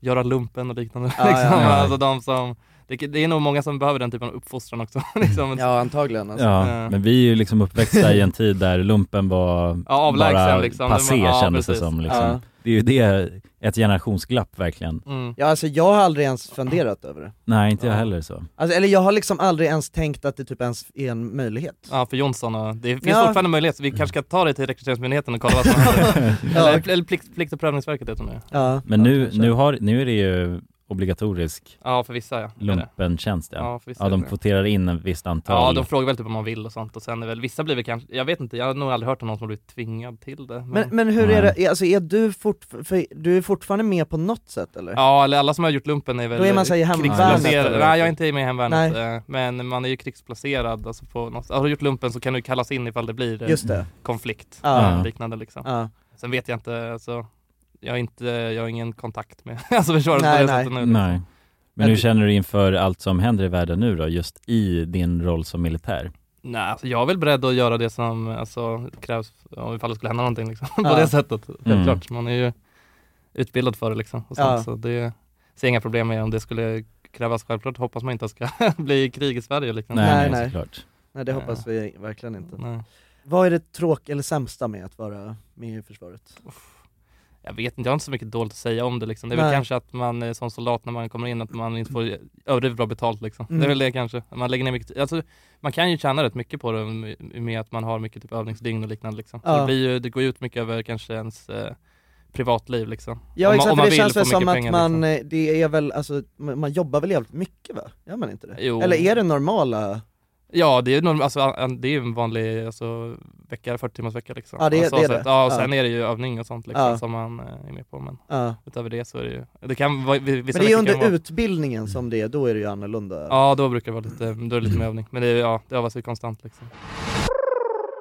Speaker 1: göra lumpen och liknande.
Speaker 2: Ja, ja,
Speaker 1: liksom.
Speaker 2: ja.
Speaker 1: Alltså, de som, det, det är nog många som behöver den typen av uppfostran också. [LAUGHS] liksom.
Speaker 2: Ja antagligen alltså.
Speaker 8: Ja,
Speaker 1: eh.
Speaker 8: men vi är ju liksom uppväxta i en tid där lumpen var
Speaker 1: Ja, avlägsen
Speaker 8: bara
Speaker 1: liksom. Det
Speaker 8: passé
Speaker 1: var- ja,
Speaker 8: kändes
Speaker 1: precis.
Speaker 8: det som. Liksom.
Speaker 2: Ja.
Speaker 8: Det är ju det, ett generationsglapp verkligen.
Speaker 1: Mm.
Speaker 2: Ja alltså jag har aldrig ens funderat över det.
Speaker 8: Nej, inte jag heller så.
Speaker 2: Alltså, eller jag har liksom aldrig ens tänkt att det typ ens är en möjlighet.
Speaker 1: Ja, för Jonsson och, det finns
Speaker 2: Ja.
Speaker 1: fortfarande möjlighet så vi kanske ska ta dig till rekryteringsmyndigheten och kolla vad
Speaker 2: [LAUGHS]
Speaker 1: som händer. Eller, eller plikt, plikt och prövningsverket heter det nu.
Speaker 2: Ja.
Speaker 8: Men nu, nu, har, nu är det ju obligatorisk
Speaker 1: Ja, för vissa ja. Det är det.
Speaker 8: lumpen-tjänst.
Speaker 1: Ja,
Speaker 8: Ja.
Speaker 1: för vissa
Speaker 8: Ja,
Speaker 1: är
Speaker 8: de
Speaker 1: det.
Speaker 8: kvoterar in en visst antal.
Speaker 1: Ja, de frågar väl typ om man vill och sånt och sen är väl, vissa blir väl kanske, jag vet inte, jag har nog aldrig hört om någon som har blivit tvingad till det. Men,
Speaker 2: Men, men hur är det, alltså är du, fort, för du är fortfarande med på något sätt eller?
Speaker 1: Ja, eller alla som har gjort lumpen är väl
Speaker 2: Då är man så här alltså." i hemvärnet,
Speaker 1: krigsplacerad.
Speaker 2: eller?
Speaker 1: Nej, jag är inte med i hemvärnet. eh, Men man är ju krigsplacerad. Alltså på något, har du gjort lumpen så kan du kallas in ifall det blir eh,
Speaker 2: Just det.
Speaker 1: konflikt.
Speaker 2: Ja.
Speaker 1: eh, Liknande liksom.
Speaker 2: Ja.
Speaker 1: Sen vet jag inte, alltså, jag, är inte, jag har ingen kontakt med [LAUGHS] alltså, försvaret
Speaker 2: Nej,
Speaker 1: på det
Speaker 2: nej.
Speaker 1: sättet nu. liksom.
Speaker 8: Nej. Men
Speaker 1: Men
Speaker 8: hur
Speaker 1: det-
Speaker 8: känner du inför allt som händer i världen nu då, just i din roll som militär?
Speaker 1: Nej, alltså jag är väl beredd att göra det som alltså, krävs om ifall det skulle hända någonting liksom. [LAUGHS]
Speaker 2: Ja.
Speaker 1: på det sättet.
Speaker 8: Mm.
Speaker 1: Självklart, man är ju utbildad för det liksom. Och så,
Speaker 2: Ja.
Speaker 1: så det ser jag inga problem med om det skulle krävas. Självklart hoppas man inte att det ska [LAUGHS] bli krig i Sverige och liknande.
Speaker 2: Nej, nej. Nej det hoppas vi verkligen inte.
Speaker 1: Nej.
Speaker 2: Vad är det tråkiga eller sämsta med att vara med i försvaret?
Speaker 1: Jag vet inte, jag har inte så mycket dåligt att säga om det liksom. Det är väl
Speaker 2: Nej.
Speaker 1: kanske att man eh, som soldat när man kommer in att man inte får överdrivet bra betalt liksom.
Speaker 2: Mm.
Speaker 1: Det är väl det kanske. Man lägger ner mycket alltså, man kan ju tjäna rätt mycket på det med- med att man har mycket typ övningsdygn och liknande liksom. Så
Speaker 2: Ja.
Speaker 1: det, blir ju, det går ju ut mycket över kanske ens eh, privatliv liksom.
Speaker 2: Ja
Speaker 1: Om man-
Speaker 2: exakt,
Speaker 1: om
Speaker 2: för
Speaker 1: man
Speaker 2: det
Speaker 1: vill
Speaker 2: känns
Speaker 1: få
Speaker 2: väl som
Speaker 1: mycket
Speaker 2: att
Speaker 1: pengar,
Speaker 2: man,
Speaker 1: liksom.
Speaker 2: eh, det är väl, alltså, man man jobbar väl jävligt mycket va? Gör man inte det?
Speaker 1: Jo.
Speaker 2: Eller är det normala?
Speaker 1: Ja, det är ju norm- alltså, an- det är ju en vanlig alltså, vecka, 40 timmars vecka liksom.
Speaker 2: Ja, det är-
Speaker 1: Så
Speaker 2: det är
Speaker 1: sätt.
Speaker 2: det.
Speaker 1: Ja, och
Speaker 2: Ja.
Speaker 1: sen är det ju övning och sånt liksom
Speaker 2: Ja.
Speaker 1: som man eh, är med på. Men
Speaker 2: Ja.
Speaker 1: utöver det så är det ju, det kan vara,
Speaker 2: Men
Speaker 1: vissa
Speaker 2: det är ju
Speaker 1: veckor kan
Speaker 2: under
Speaker 1: vara-
Speaker 2: utbildningen som det är, då är det ju annorlunda.
Speaker 1: Ja, då brukar det vara lite, då är det lite med övning. Men det, är- ja, det övas ju konstant liksom.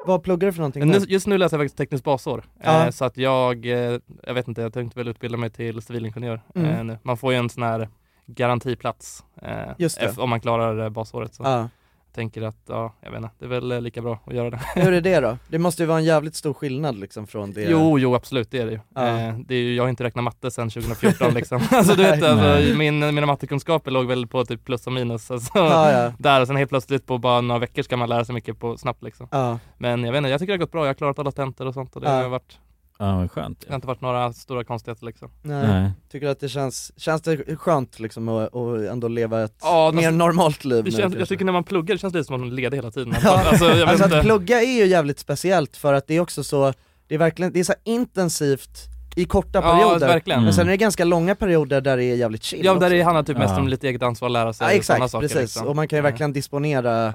Speaker 2: Vad pluggar du för någonting?
Speaker 1: Men nu,
Speaker 2: nu?
Speaker 1: just nu läser jag faktiskt tekniskt basår.
Speaker 2: Ja.
Speaker 1: Eh, så att jag, eh, jag vet inte, jag tänkte väl utbilda mig till civilingenjör.
Speaker 2: Mm.
Speaker 1: Eh, nu. Man får ju en sån här garantiplats eh,
Speaker 2: Just det.
Speaker 1: eff- om man klarar eh, basåret. Så.
Speaker 2: Ja.
Speaker 1: Jag tänker att, ja, jag vet inte, det är väl eh, lika bra att göra det.
Speaker 2: Hur är det då? Det måste ju vara en jävligt stor skillnad liksom från det
Speaker 1: Jo, jo absolut det är det ju.
Speaker 2: Ja.
Speaker 1: Eh, det är ju jag har inte räknat matte
Speaker 2: [LAUGHS]
Speaker 1: sedan 2014 liksom. alltså, du vet, alltså,
Speaker 2: Nej.
Speaker 1: min, mina mattekunskaper låg väl på typ plus och minus. Alltså,
Speaker 2: Ja, ja.
Speaker 1: Där och sen helt plötsligt på bara några veckor ska man lära sig mycket på snabbt liksom.
Speaker 2: Ja.
Speaker 1: Men jag vet inte, jag tycker det har gått bra. Jag har klarat alla tentor och sånt och det
Speaker 2: Ja.
Speaker 1: har varit,
Speaker 8: Ja, vad skönt.
Speaker 1: det har inte varit några stora konstigheter liksom.
Speaker 2: Nej.
Speaker 8: Nej.
Speaker 2: Tycker du att det känns, känns det skönt liksom att, att ändå leva ett
Speaker 1: Ja,
Speaker 2: mer
Speaker 1: alltså,
Speaker 2: normalt liv nu,
Speaker 1: Det känns,
Speaker 2: kanske? [LAUGHS]
Speaker 1: jag tycker när man pluggar det känns lite som att man är ledig hela tiden.
Speaker 2: Ja.
Speaker 1: Alltså, jag vet
Speaker 2: alltså att
Speaker 1: inte.
Speaker 2: plugga är ju jävligt speciellt för att det är också så, det är verkligen, det är så här intensivt i korta
Speaker 1: Ja,
Speaker 2: perioder.
Speaker 1: verkligen.
Speaker 2: Men sen är
Speaker 1: Mm.
Speaker 2: det ganska långa perioder där det är jävligt chill
Speaker 1: Ja, där
Speaker 2: också.
Speaker 1: det handlar typ mest om lite eget ansvar att lära sig
Speaker 2: Ja,
Speaker 1: och sådana
Speaker 2: exakt,
Speaker 1: saker. liksom.
Speaker 2: precis. Och man kan ju verkligen disponera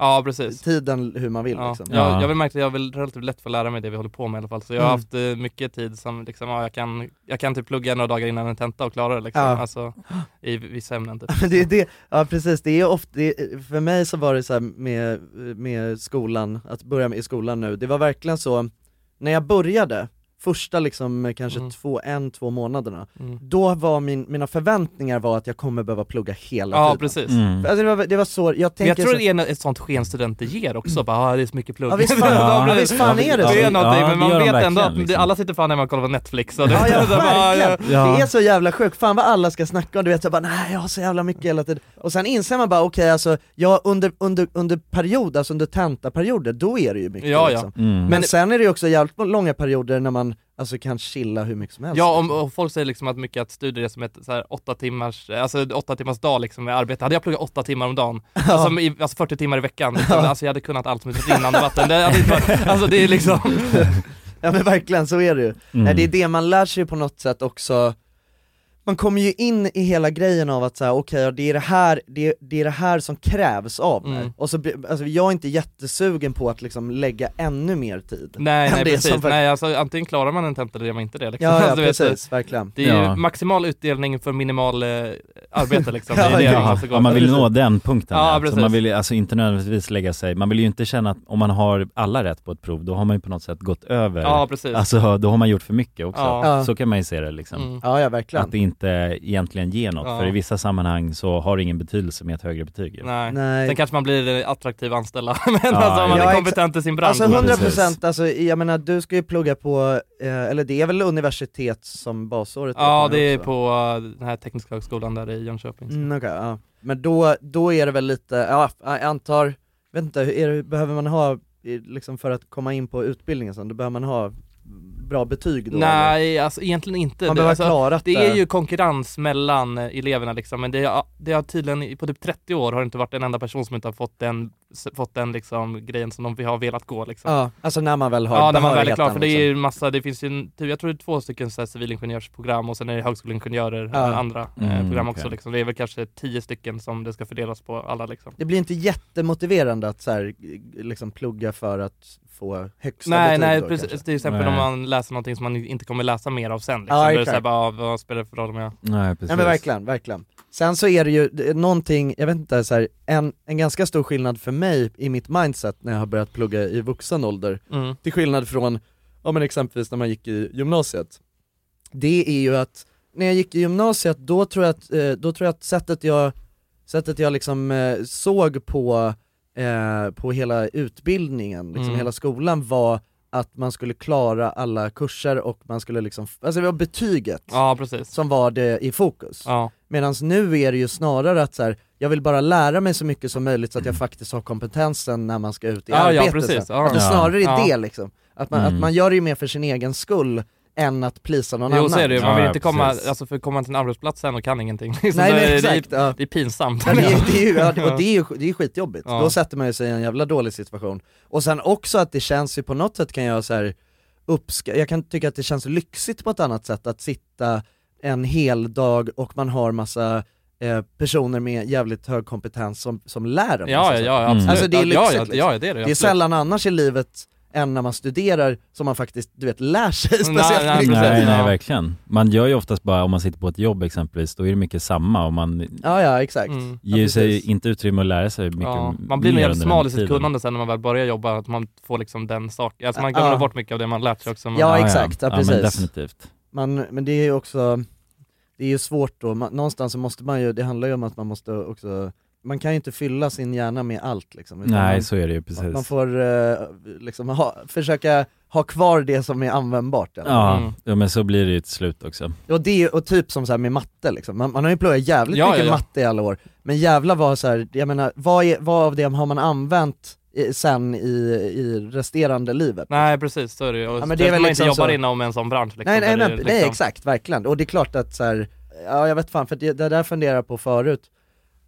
Speaker 2: tiden hur man vill
Speaker 1: Ja.
Speaker 2: liksom.
Speaker 1: Jag, jag har märkt att jag vill relativt lätt få lära mig det vi håller på med i alla fall. Så jag har
Speaker 2: Mm.
Speaker 1: haft eh, mycket tid som liksom, ja, jag, kan, jag kan typ plugga några dagar innan en tenta och klara det liksom.
Speaker 2: Ja.
Speaker 1: Alltså, i vissa
Speaker 2: [LAUGHS]
Speaker 1: ämnen typ.
Speaker 2: Men det är det, ja precis, det är ofta, det är, för mig så var det så här med, med skolan, att börja med i skolan nu, det var verkligen så, när jag började, första liksom eh, kanske
Speaker 1: Mm.
Speaker 2: två, en, två månaderna,
Speaker 1: Mm.
Speaker 2: då var min, mina förväntningar var att jag kommer behöva plugga hela
Speaker 1: Ja,
Speaker 2: tiden.
Speaker 1: precis.
Speaker 8: Mm.
Speaker 2: För, Alltså, det, var, det var så, jag
Speaker 1: Men
Speaker 2: tänker
Speaker 1: jag tror
Speaker 2: så,
Speaker 1: det är en- ett sånt sken studenter ger också, bara ah, det är så mycket plugg.
Speaker 2: Ja,
Speaker 1: [LAUGHS]
Speaker 2: visst fan- ja,
Speaker 1: precis.
Speaker 2: visst fan är det
Speaker 1: Det
Speaker 2: så.
Speaker 1: är någonting,
Speaker 2: Ja,
Speaker 1: men
Speaker 2: det
Speaker 1: man
Speaker 2: gör de
Speaker 1: vet ändå
Speaker 2: verkligen, liksom.
Speaker 1: att det- alla sitter fan hemma och kollar på Netflix. Och det,
Speaker 2: Ja,
Speaker 1: [LAUGHS]
Speaker 2: ja,
Speaker 1: det är bara,
Speaker 2: verkligen!
Speaker 1: ja.
Speaker 2: Det är så jävla sjukt, fan vad alla ska snacka om, du vet så bara nej jag har så jävla mycket hela tiden. Och sen inser man bara okej alltså, jag under, under, under period, alltså under tentaperioder, då är det ju mycket
Speaker 1: Ja, ja.
Speaker 2: liksom.
Speaker 1: Mm.
Speaker 2: Men,
Speaker 1: Men-
Speaker 2: sen är det ju också jävligt långa perioder när man alltså kan chilla hur mycket som helst.
Speaker 1: Ja, om, och folk säger liksom att mycket att studier är som ett så här, åtta timmars, alltså åtta timmars dag liksom med arbete. Hade jag pluggat åtta timmar
Speaker 2: [LAUGHS]
Speaker 1: om dagen, alltså, i, alltså 40 timmar i veckan, liksom, alltså jag hade kunnat allt som ett rinnande vatten. Det, hade inte varit- alltså det är liksom...
Speaker 2: [LAUGHS] Ja men verkligen, så är det ju. Nej, det är det man lär sig ju på något sätt också, man kommer ju in i hela grejen av att säga okej, ja, det, är det, här- det, det är det här som krävs av mig.
Speaker 1: Mm.
Speaker 2: Och så, blir- alltså, jag är inte jättesugen på att liksom lägga ännu mer tid.
Speaker 1: Nej,
Speaker 2: än
Speaker 1: nej
Speaker 2: det
Speaker 1: precis.
Speaker 2: som fakt-
Speaker 1: Nej, alltså, antingen klarar man en tenta eller gör man inte det. Liksom.
Speaker 2: Ja, ja,
Speaker 1: alltså, du vet,
Speaker 2: precis,
Speaker 1: det-
Speaker 2: verkligen.
Speaker 1: Det är ju
Speaker 8: Ja.
Speaker 1: maximal utdelning för minimal eh, arbete liksom. det är det man
Speaker 8: [LAUGHS] Ja,
Speaker 1: måste gå
Speaker 8: ja, man
Speaker 1: för.
Speaker 8: vill nå den punkten.
Speaker 1: Ja,
Speaker 8: där. så
Speaker 1: precis.
Speaker 8: man vill ju alltså inte nödvändigtvis lägga sig, man vill ju inte känna att om man har alla rätt på ett prov, då har man ju på något sätt gått
Speaker 1: [LAUGHS]
Speaker 8: över.
Speaker 1: Ja, precis.
Speaker 8: Alltså då har man gjort för mycket också.
Speaker 1: Ja. Ja.
Speaker 8: Så kan man ju se det liksom.
Speaker 1: Mm.
Speaker 2: Ja, ja, verkligen.
Speaker 8: Att det inte egentligen ger något,
Speaker 1: Ja.
Speaker 8: för i vissa sammanhang så har det ingen betydelse med ett högre betyg. ju.
Speaker 1: Nej.
Speaker 2: Nej.
Speaker 1: Sen kanske man blir eh, attraktiv anställda, [LAUGHS] men alltså om man
Speaker 2: Ja,
Speaker 1: är
Speaker 2: exa-
Speaker 1: kompetent i sin bransch.
Speaker 2: Alltså 100% procent, alltså, jag menar du ska ju plugga på, eh, eller det är väl universitet som basåret?
Speaker 1: Ja,
Speaker 2: på
Speaker 1: det
Speaker 2: nu
Speaker 1: är
Speaker 2: också?
Speaker 1: på eh, den här tekniska högskolan där i Jönköping.
Speaker 2: Mm, okej, ja. Men då, då är det väl lite, ja, jag antar, vet inte, hur är det, behöver man ha, i- liksom för att komma in på utbildningen sen, då behöver man ha bra betyg då? eller?
Speaker 1: Nej, alltså egentligen inte.
Speaker 2: Man
Speaker 1: det,
Speaker 2: behöver
Speaker 1: alltså,
Speaker 2: ha klarat
Speaker 1: det
Speaker 2: det.
Speaker 1: är ju konkurrens mellan eh, eleverna liksom, men det, har- det har tydligen, i- på typ 30 år har det inte varit en enda person som inte har fått den, s- fått den liksom, grejen som de vi har velat gå liksom.
Speaker 2: Ja, alltså när man väl har
Speaker 1: Ja, när man väl är klar,
Speaker 2: behörigheten,
Speaker 1: för det är
Speaker 2: liksom.
Speaker 1: ju massa, det finns ju, en- typ, jag tror det är två stycken så här, civilingenjörsprogram och sen är det högskoleingenjörer,
Speaker 2: Ja.
Speaker 1: eh, andra eh,
Speaker 2: Mm,
Speaker 1: program
Speaker 2: okej.
Speaker 1: också liksom. Det är väl kanske tio stycken som det ska fördelas på alla liksom.
Speaker 2: Det blir inte jättemotiverande att så här, liksom plugga för att få högsta
Speaker 1: Nej,
Speaker 2: betyg
Speaker 1: nej
Speaker 2: då,
Speaker 1: precis,
Speaker 2: kanske.
Speaker 1: till exempel om man läser någonting som man inte kommer läsa mer av sen. Liksom.
Speaker 2: Ja,
Speaker 1: Då är det
Speaker 2: exakt.
Speaker 1: så här, bara, ah, vad spelar det för roll om jag...
Speaker 8: Nej, precis.
Speaker 2: Ja men verkligen, verkligen. Sen så är det ju det är någonting, jag vet inte, så här, en, en ganska stor skillnad för mig i mitt mindset när jag har börjat plugga i vuxen ålder,
Speaker 1: Mm.
Speaker 2: till skillnad från, ja men exempelvis när man gick i gymnasiet. Det är ju att, när jag gick i gymnasiet då tror jag att, eh, då tror jag att sättet jag, sättet jag liksom eh, såg på, eh, på hela utbildningen, liksom
Speaker 1: Mm.
Speaker 2: hela skolan var att man skulle klara alla kurser och man skulle liksom, alltså det var betyget
Speaker 1: Ja, precis.
Speaker 2: som var det i fokus.
Speaker 1: Ja.
Speaker 2: Medan nu är det ju snarare att så här, jag vill bara lära mig så mycket som möjligt så att jag faktiskt har kompetensen när man ska ut i
Speaker 1: Ja, ja,
Speaker 2: arbete
Speaker 1: precis.
Speaker 2: sen.
Speaker 1: Ja.
Speaker 2: Att det snarare är
Speaker 1: Ja.
Speaker 2: det liksom. Att man,
Speaker 1: Mm.
Speaker 2: att man gör det ju mer för sin egen skull än att plisa någon
Speaker 1: Jo
Speaker 2: annan.
Speaker 1: så är det ju, man vill inte komma,
Speaker 2: precis.
Speaker 1: alltså för kommer man till en arbetsplats sen och kan ingenting. [LAUGHS] Liksom,
Speaker 2: Nej,
Speaker 1: då
Speaker 2: nej,
Speaker 1: är det-
Speaker 2: exakt,
Speaker 1: det, är, det är pinsamt.
Speaker 2: Ja, det, är- det är ju, ja, och det är ju det är ju skitjobbigt,
Speaker 1: Ja.
Speaker 2: då sätter man ju sig i en jävla dålig situation. Och sen också att det känns ju på något sätt kan jag så här uppska- jag kan tycka att det känns lyxigt på ett annat sätt att sitta en hel dag och man har massa eh, personer med jävligt hög kompetens som, som lär en.
Speaker 1: Ja,
Speaker 2: massa
Speaker 1: [LAUGHS]
Speaker 2: saker.
Speaker 1: ja, ja, absolut.
Speaker 2: Alltså det är lyxigt
Speaker 1: Ja, ja,
Speaker 2: liksom.
Speaker 1: ja, det är det,
Speaker 2: det är
Speaker 1: absolut.
Speaker 2: sällan annars i livet än när man studerar som man faktiskt, du vet, lär sig speciellt
Speaker 8: nej,
Speaker 2: mycket.
Speaker 8: nej,
Speaker 2: Ja.
Speaker 8: verkligen. Man gör ju oftast bara, om man sitter på ett jobb exempelvis, då är det mycket samma och man
Speaker 2: Ja, ja, exakt.
Speaker 1: Mm.
Speaker 8: ger ju sig inte utrymme att lära sig mycket
Speaker 1: Ja, man blir nog jävligt
Speaker 8: under
Speaker 1: smal
Speaker 8: den
Speaker 1: i sitt
Speaker 8: tiden.
Speaker 1: kunnande sen när man väl börjar jobba, att man får liksom den saken, alltså man
Speaker 2: Ja.
Speaker 1: glömmer bort mycket av det man lärt sig också. men-
Speaker 2: Ja, exakt, ja, precis.
Speaker 8: men definitivt.
Speaker 2: Man, men det är ju också, det är ju svårt då, man, någonstans så måste man ju, det handlar ju om att man måste också, man kan ju inte fylla sin hjärna med allt liksom. utan
Speaker 8: Nej,
Speaker 2: man,
Speaker 8: så är det ju, precis.
Speaker 2: Man får eh, liksom ha, försöka ha kvar det som är användbart. eller?
Speaker 8: Ja, ja, men så blir det ju till slut också.
Speaker 2: Och det är ju, och typ som så här med matte liksom. man, man har ju pluggat jävligt
Speaker 8: Ja,
Speaker 2: mycket
Speaker 8: ja, ja.
Speaker 2: matte i alla år, men jävla vad så här, jag menar, vad, är, vad av det har man använt i, sen i, i resterande livet?
Speaker 1: Nej precis, så är det ju. Och
Speaker 2: Ja, men det är väl
Speaker 1: speciellt om man
Speaker 2: liksom
Speaker 1: inte jobbar
Speaker 2: så-
Speaker 1: inom en sån bransch. Liksom,
Speaker 2: nej, nej,
Speaker 1: där
Speaker 2: nej,
Speaker 1: det är
Speaker 2: nej
Speaker 1: liksom-
Speaker 2: exakt, verkligen. Och det är klart att så här, ja jag vet fan, för det, det där funderar jag på förut,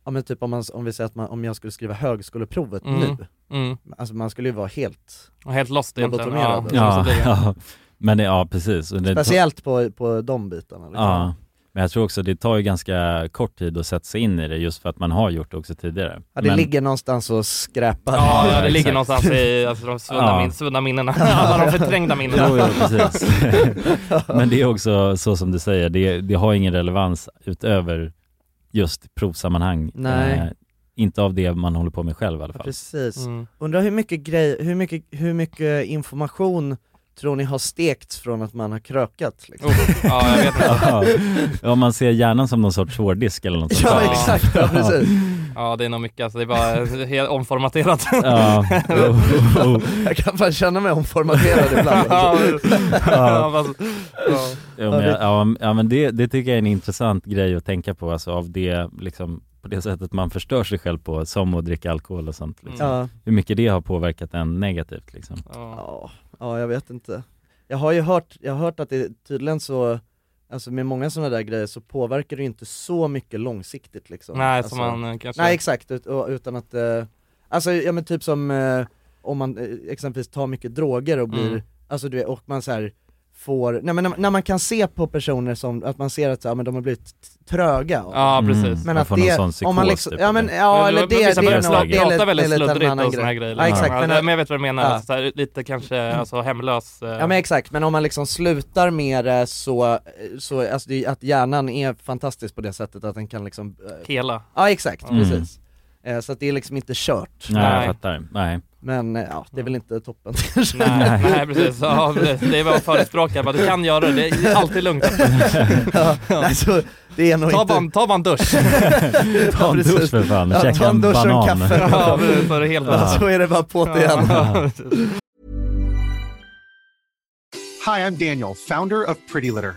Speaker 2: ja men typ om, man, om vi säger att man, om jag skulle skriva högskoleprovet
Speaker 1: Mm,
Speaker 2: nu,
Speaker 1: mm.
Speaker 2: alltså man skulle ju vara helt
Speaker 1: Och helt lost egentligen.
Speaker 2: lobotomerad.
Speaker 1: Ja,
Speaker 2: alltså, så blir det.
Speaker 8: [LAUGHS] ja. Men det- ja, precis. Och det-
Speaker 2: Speciellt på, på de bitarna. liksom.
Speaker 8: Ja, men jag tror också det tar ju ganska kort tid att sätta sig in i det just för att man har gjort det också tidigare.
Speaker 2: Ja, det
Speaker 8: men,
Speaker 2: ligger någonstans och skräpar.
Speaker 1: Ja,
Speaker 2: [LAUGHS]
Speaker 1: ja, det
Speaker 8: [LAUGHS]
Speaker 1: ligger någonstans i alltså, de svunna,
Speaker 8: Ja.
Speaker 1: min, svunna minnena, alla [LAUGHS] de förträngda minnena.
Speaker 8: Jo, ja, precis. [LAUGHS] men det är också så som du säger, det, det har ingen relevans utöver just provsammanhang. Eh,
Speaker 2: Nej.
Speaker 8: inte av det man håller på med själv i alla fall.
Speaker 2: Precis.
Speaker 1: Mm.
Speaker 2: Undrar hur mycket, grej, hur, mycket, hur mycket information tror ni har stekts från att man har krökat? Liksom?
Speaker 1: Oh, ja, jag vet
Speaker 8: [LAUGHS] Ja. Om man ser hjärnan som någon sorts hårddisk eller något
Speaker 2: [LAUGHS]
Speaker 8: sånt
Speaker 2: Ja,
Speaker 8: där.
Speaker 2: exakt, ja, precis.
Speaker 1: Ja, det är nog mycket, alltså, det är bara helt omformaterat. [LAUGHS]
Speaker 8: Ja. Jo, jo.
Speaker 2: Jag kan fan känna mig omformaterad
Speaker 1: [LAUGHS]
Speaker 2: ibland. Alltså.
Speaker 1: Ja, fast- ja.
Speaker 8: [LAUGHS] Jo, men, jag- ja, ja, men det, det tycker jag är en intressant grej att tänka på, alltså av det liksom på det sättet man förstör sig själv på, som att dricka alkohol och sånt liksom.
Speaker 2: Mm. Ja.
Speaker 8: Hur mycket det har påverkat en negativt liksom.
Speaker 2: Ja, ja jag vet inte. Jag har ju hört, jag har hört att det tydligen så, alltså med många sådana där grejer så påverkar det ju inte så mycket långsiktigt liksom.
Speaker 1: Nej,
Speaker 2: alltså,
Speaker 1: som man, eh, kanske-
Speaker 2: Nej exakt, ut, och- utan att, eh, alltså ja men typ som eh, om man eh, exempelvis tar mycket droger och blir,
Speaker 1: Mm.
Speaker 2: alltså du vet, och man så här får, nej men när, när man kan se på personer som, att man ser att så, här, men de har blivit t- tröga av
Speaker 1: Ja,
Speaker 2: det.
Speaker 1: precis. Mm,
Speaker 2: Men
Speaker 1: man
Speaker 2: att
Speaker 1: får någon
Speaker 2: det,
Speaker 1: sån
Speaker 2: om man
Speaker 1: psykos
Speaker 2: liksom,
Speaker 1: typ,
Speaker 2: ja men
Speaker 1: eller?
Speaker 2: ja
Speaker 1: Men-
Speaker 2: eller
Speaker 1: men
Speaker 2: det,
Speaker 1: vissa
Speaker 2: det är
Speaker 1: börjar
Speaker 2: nog, det är lite,
Speaker 1: prata
Speaker 2: det
Speaker 1: väldigt
Speaker 2: är lite en
Speaker 1: sluddrigt
Speaker 2: annan
Speaker 1: och såna här
Speaker 2: grej.
Speaker 1: grejer.
Speaker 2: Ja, exakt,
Speaker 1: men,
Speaker 2: men, eh,
Speaker 1: men jag vet vad du menar,
Speaker 2: Ja. Mm.
Speaker 1: så här, lite kanske alltså, hemlös. eh,
Speaker 2: Ja men exakt, men om man liksom slutar med det så, så alltså det, att hjärnan är fantastisk på det sättet att den kan liksom eh, [LAUGHS]
Speaker 1: Hela.
Speaker 2: Ja exakt,
Speaker 8: Mm.
Speaker 2: precis. Eh, Så att det är liksom inte kört.
Speaker 8: Nej, jag fattar. Nej.
Speaker 2: Men eh, ja, det är väl inte toppen [LAUGHS] kanske.
Speaker 1: Nej, nej precis,
Speaker 2: [LAUGHS]
Speaker 1: ja, det är vad jag förespråkar, bara, du kan göra det, det är alltid lugnt.
Speaker 2: ja, nej, så det är nog
Speaker 1: ta,
Speaker 2: inte...
Speaker 1: bara en, ta bara
Speaker 2: [LAUGHS]
Speaker 1: en dusch.
Speaker 8: Ta en dusch för fan,
Speaker 2: Ja,
Speaker 8: käka
Speaker 2: ta en
Speaker 8: en
Speaker 2: dusch och en
Speaker 8: banan.
Speaker 2: kaffe.
Speaker 1: Ja, precis, så är det helt
Speaker 2: Ja, [LAUGHS] så är det bara på det igen.
Speaker 1: Ja.
Speaker 16: Hi, I'm Daniel, founder of Pretty Litter.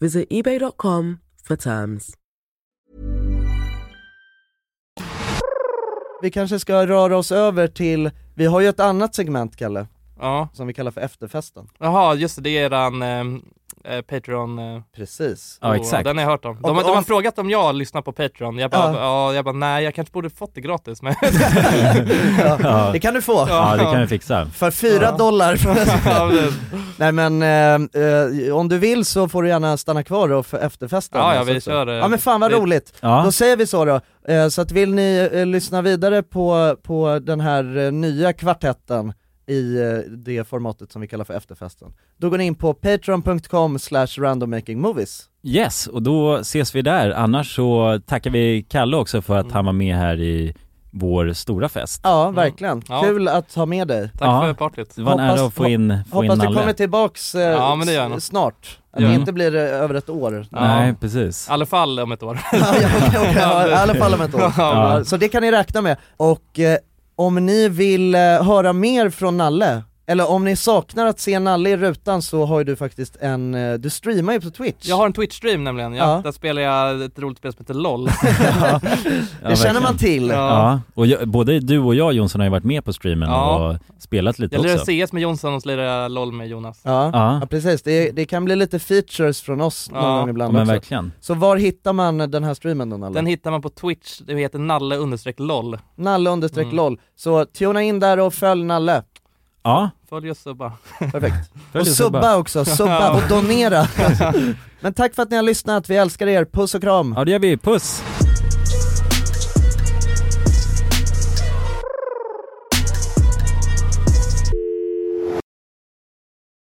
Speaker 11: Visit eBay.com for terms.
Speaker 2: Vi kanske ska röra oss över till, vi har ju ett annat segment Kalle,
Speaker 1: Ja.
Speaker 2: som vi kallar för efterfesten.
Speaker 1: Jaha, just det, det är eran eh, eh, Patreon... Eh.
Speaker 2: Precis.
Speaker 8: Ja, exakt.
Speaker 1: Den har jag hört om. De,
Speaker 8: Och
Speaker 1: de har
Speaker 8: om-
Speaker 1: frågat om jag lyssnar på Patreon, jag bara,
Speaker 2: Ja.
Speaker 1: ja. jag bara nej, jag kanske borde fått det
Speaker 2: [LAUGHS]
Speaker 1: gratis men...
Speaker 2: Ja, det kan du få.
Speaker 8: Ja, det kan vi fixa.
Speaker 2: För fyra
Speaker 1: Ja.
Speaker 2: dollar.
Speaker 1: Ja, precis.
Speaker 2: Nej men, eh, eh, om du vill så får du gärna stanna kvar och för efterfesten.
Speaker 1: Ja, ja,
Speaker 2: Alltså,
Speaker 1: vi
Speaker 2: så.
Speaker 1: kör, eh,
Speaker 2: Ja men fan vad
Speaker 1: vi-
Speaker 2: roligt.
Speaker 1: Ja.
Speaker 2: Då säger vi så då. Eh, så att vill ni eh, lyssna vidare på, på den här eh, nya kvartetten i eh, det formatet som vi kallar för efterfesten, då går ni in på patreon.com slash randommakingmovies.
Speaker 8: Yes, och då ses vi där. Annars så tackar vi Kalle också för
Speaker 2: Mm.
Speaker 8: att han var med här i vår stora fest.
Speaker 2: Ja, verkligen.
Speaker 1: Mm. Ja.
Speaker 2: Kul att ha med dig.
Speaker 1: Tack för partyt.
Speaker 8: Det var en ära att få in, få in
Speaker 2: Hoppas du
Speaker 8: Nalle. Mm.
Speaker 2: kommer tillbaks eh,
Speaker 1: Ja, men det gör jag
Speaker 2: s-
Speaker 1: nog.
Speaker 2: snart. Att
Speaker 1: Gör
Speaker 2: det
Speaker 1: jag.
Speaker 2: inte blir eh, över ett år.
Speaker 8: Nej, precis.
Speaker 1: I alla fall om ett år.
Speaker 2: Okej, [LAUGHS] ja, I alla fall om ett år.
Speaker 1: Ja.
Speaker 2: Så det kan ni räkna med. Och eh, om ni vill eh, höra mer från Nalle Eller om ni saknar att se Nalle i rutan så har ju du faktiskt en, eh, du streamar ju på Twitch.
Speaker 1: Jag har en Twitch-stream nämligen, ja,
Speaker 2: Ja.
Speaker 1: där spelar jag ett roligt spel som
Speaker 2: [LAUGHS]
Speaker 1: heter LOL.
Speaker 8: Ja, verkligen. Ja, och jag, både du och jag Jonsson har ju varit med på streamen
Speaker 1: Ja.
Speaker 8: och spelat lite
Speaker 1: Jag lirar
Speaker 8: också.
Speaker 1: CS med Jonsson och så lirar jag LOL med Jonas.
Speaker 2: Ja,
Speaker 8: Ja.
Speaker 2: ja. precis, det, det kan bli lite features från oss någon
Speaker 1: Ja.
Speaker 2: gång ibland
Speaker 8: Men
Speaker 2: också.
Speaker 8: verkligen.
Speaker 2: Så var hittar man den här streamen då Nalle?
Speaker 1: Den hittar man på Twitch, det heter nalle understreck LOL.
Speaker 2: Nalle understreck
Speaker 1: Mm.
Speaker 2: LOL, så tuna in där och följ Nalle.
Speaker 8: Ja.
Speaker 1: Följ och subba.
Speaker 2: Perfekt. och
Speaker 1: Följ och
Speaker 2: subba,
Speaker 1: subba. [LAUGHS]
Speaker 2: också, subba [LAUGHS]
Speaker 1: Ja.
Speaker 2: och donera. Men tack för att ni har lyssnat, vi älskar er, puss och kram.
Speaker 8: Ja det gör vi, puss!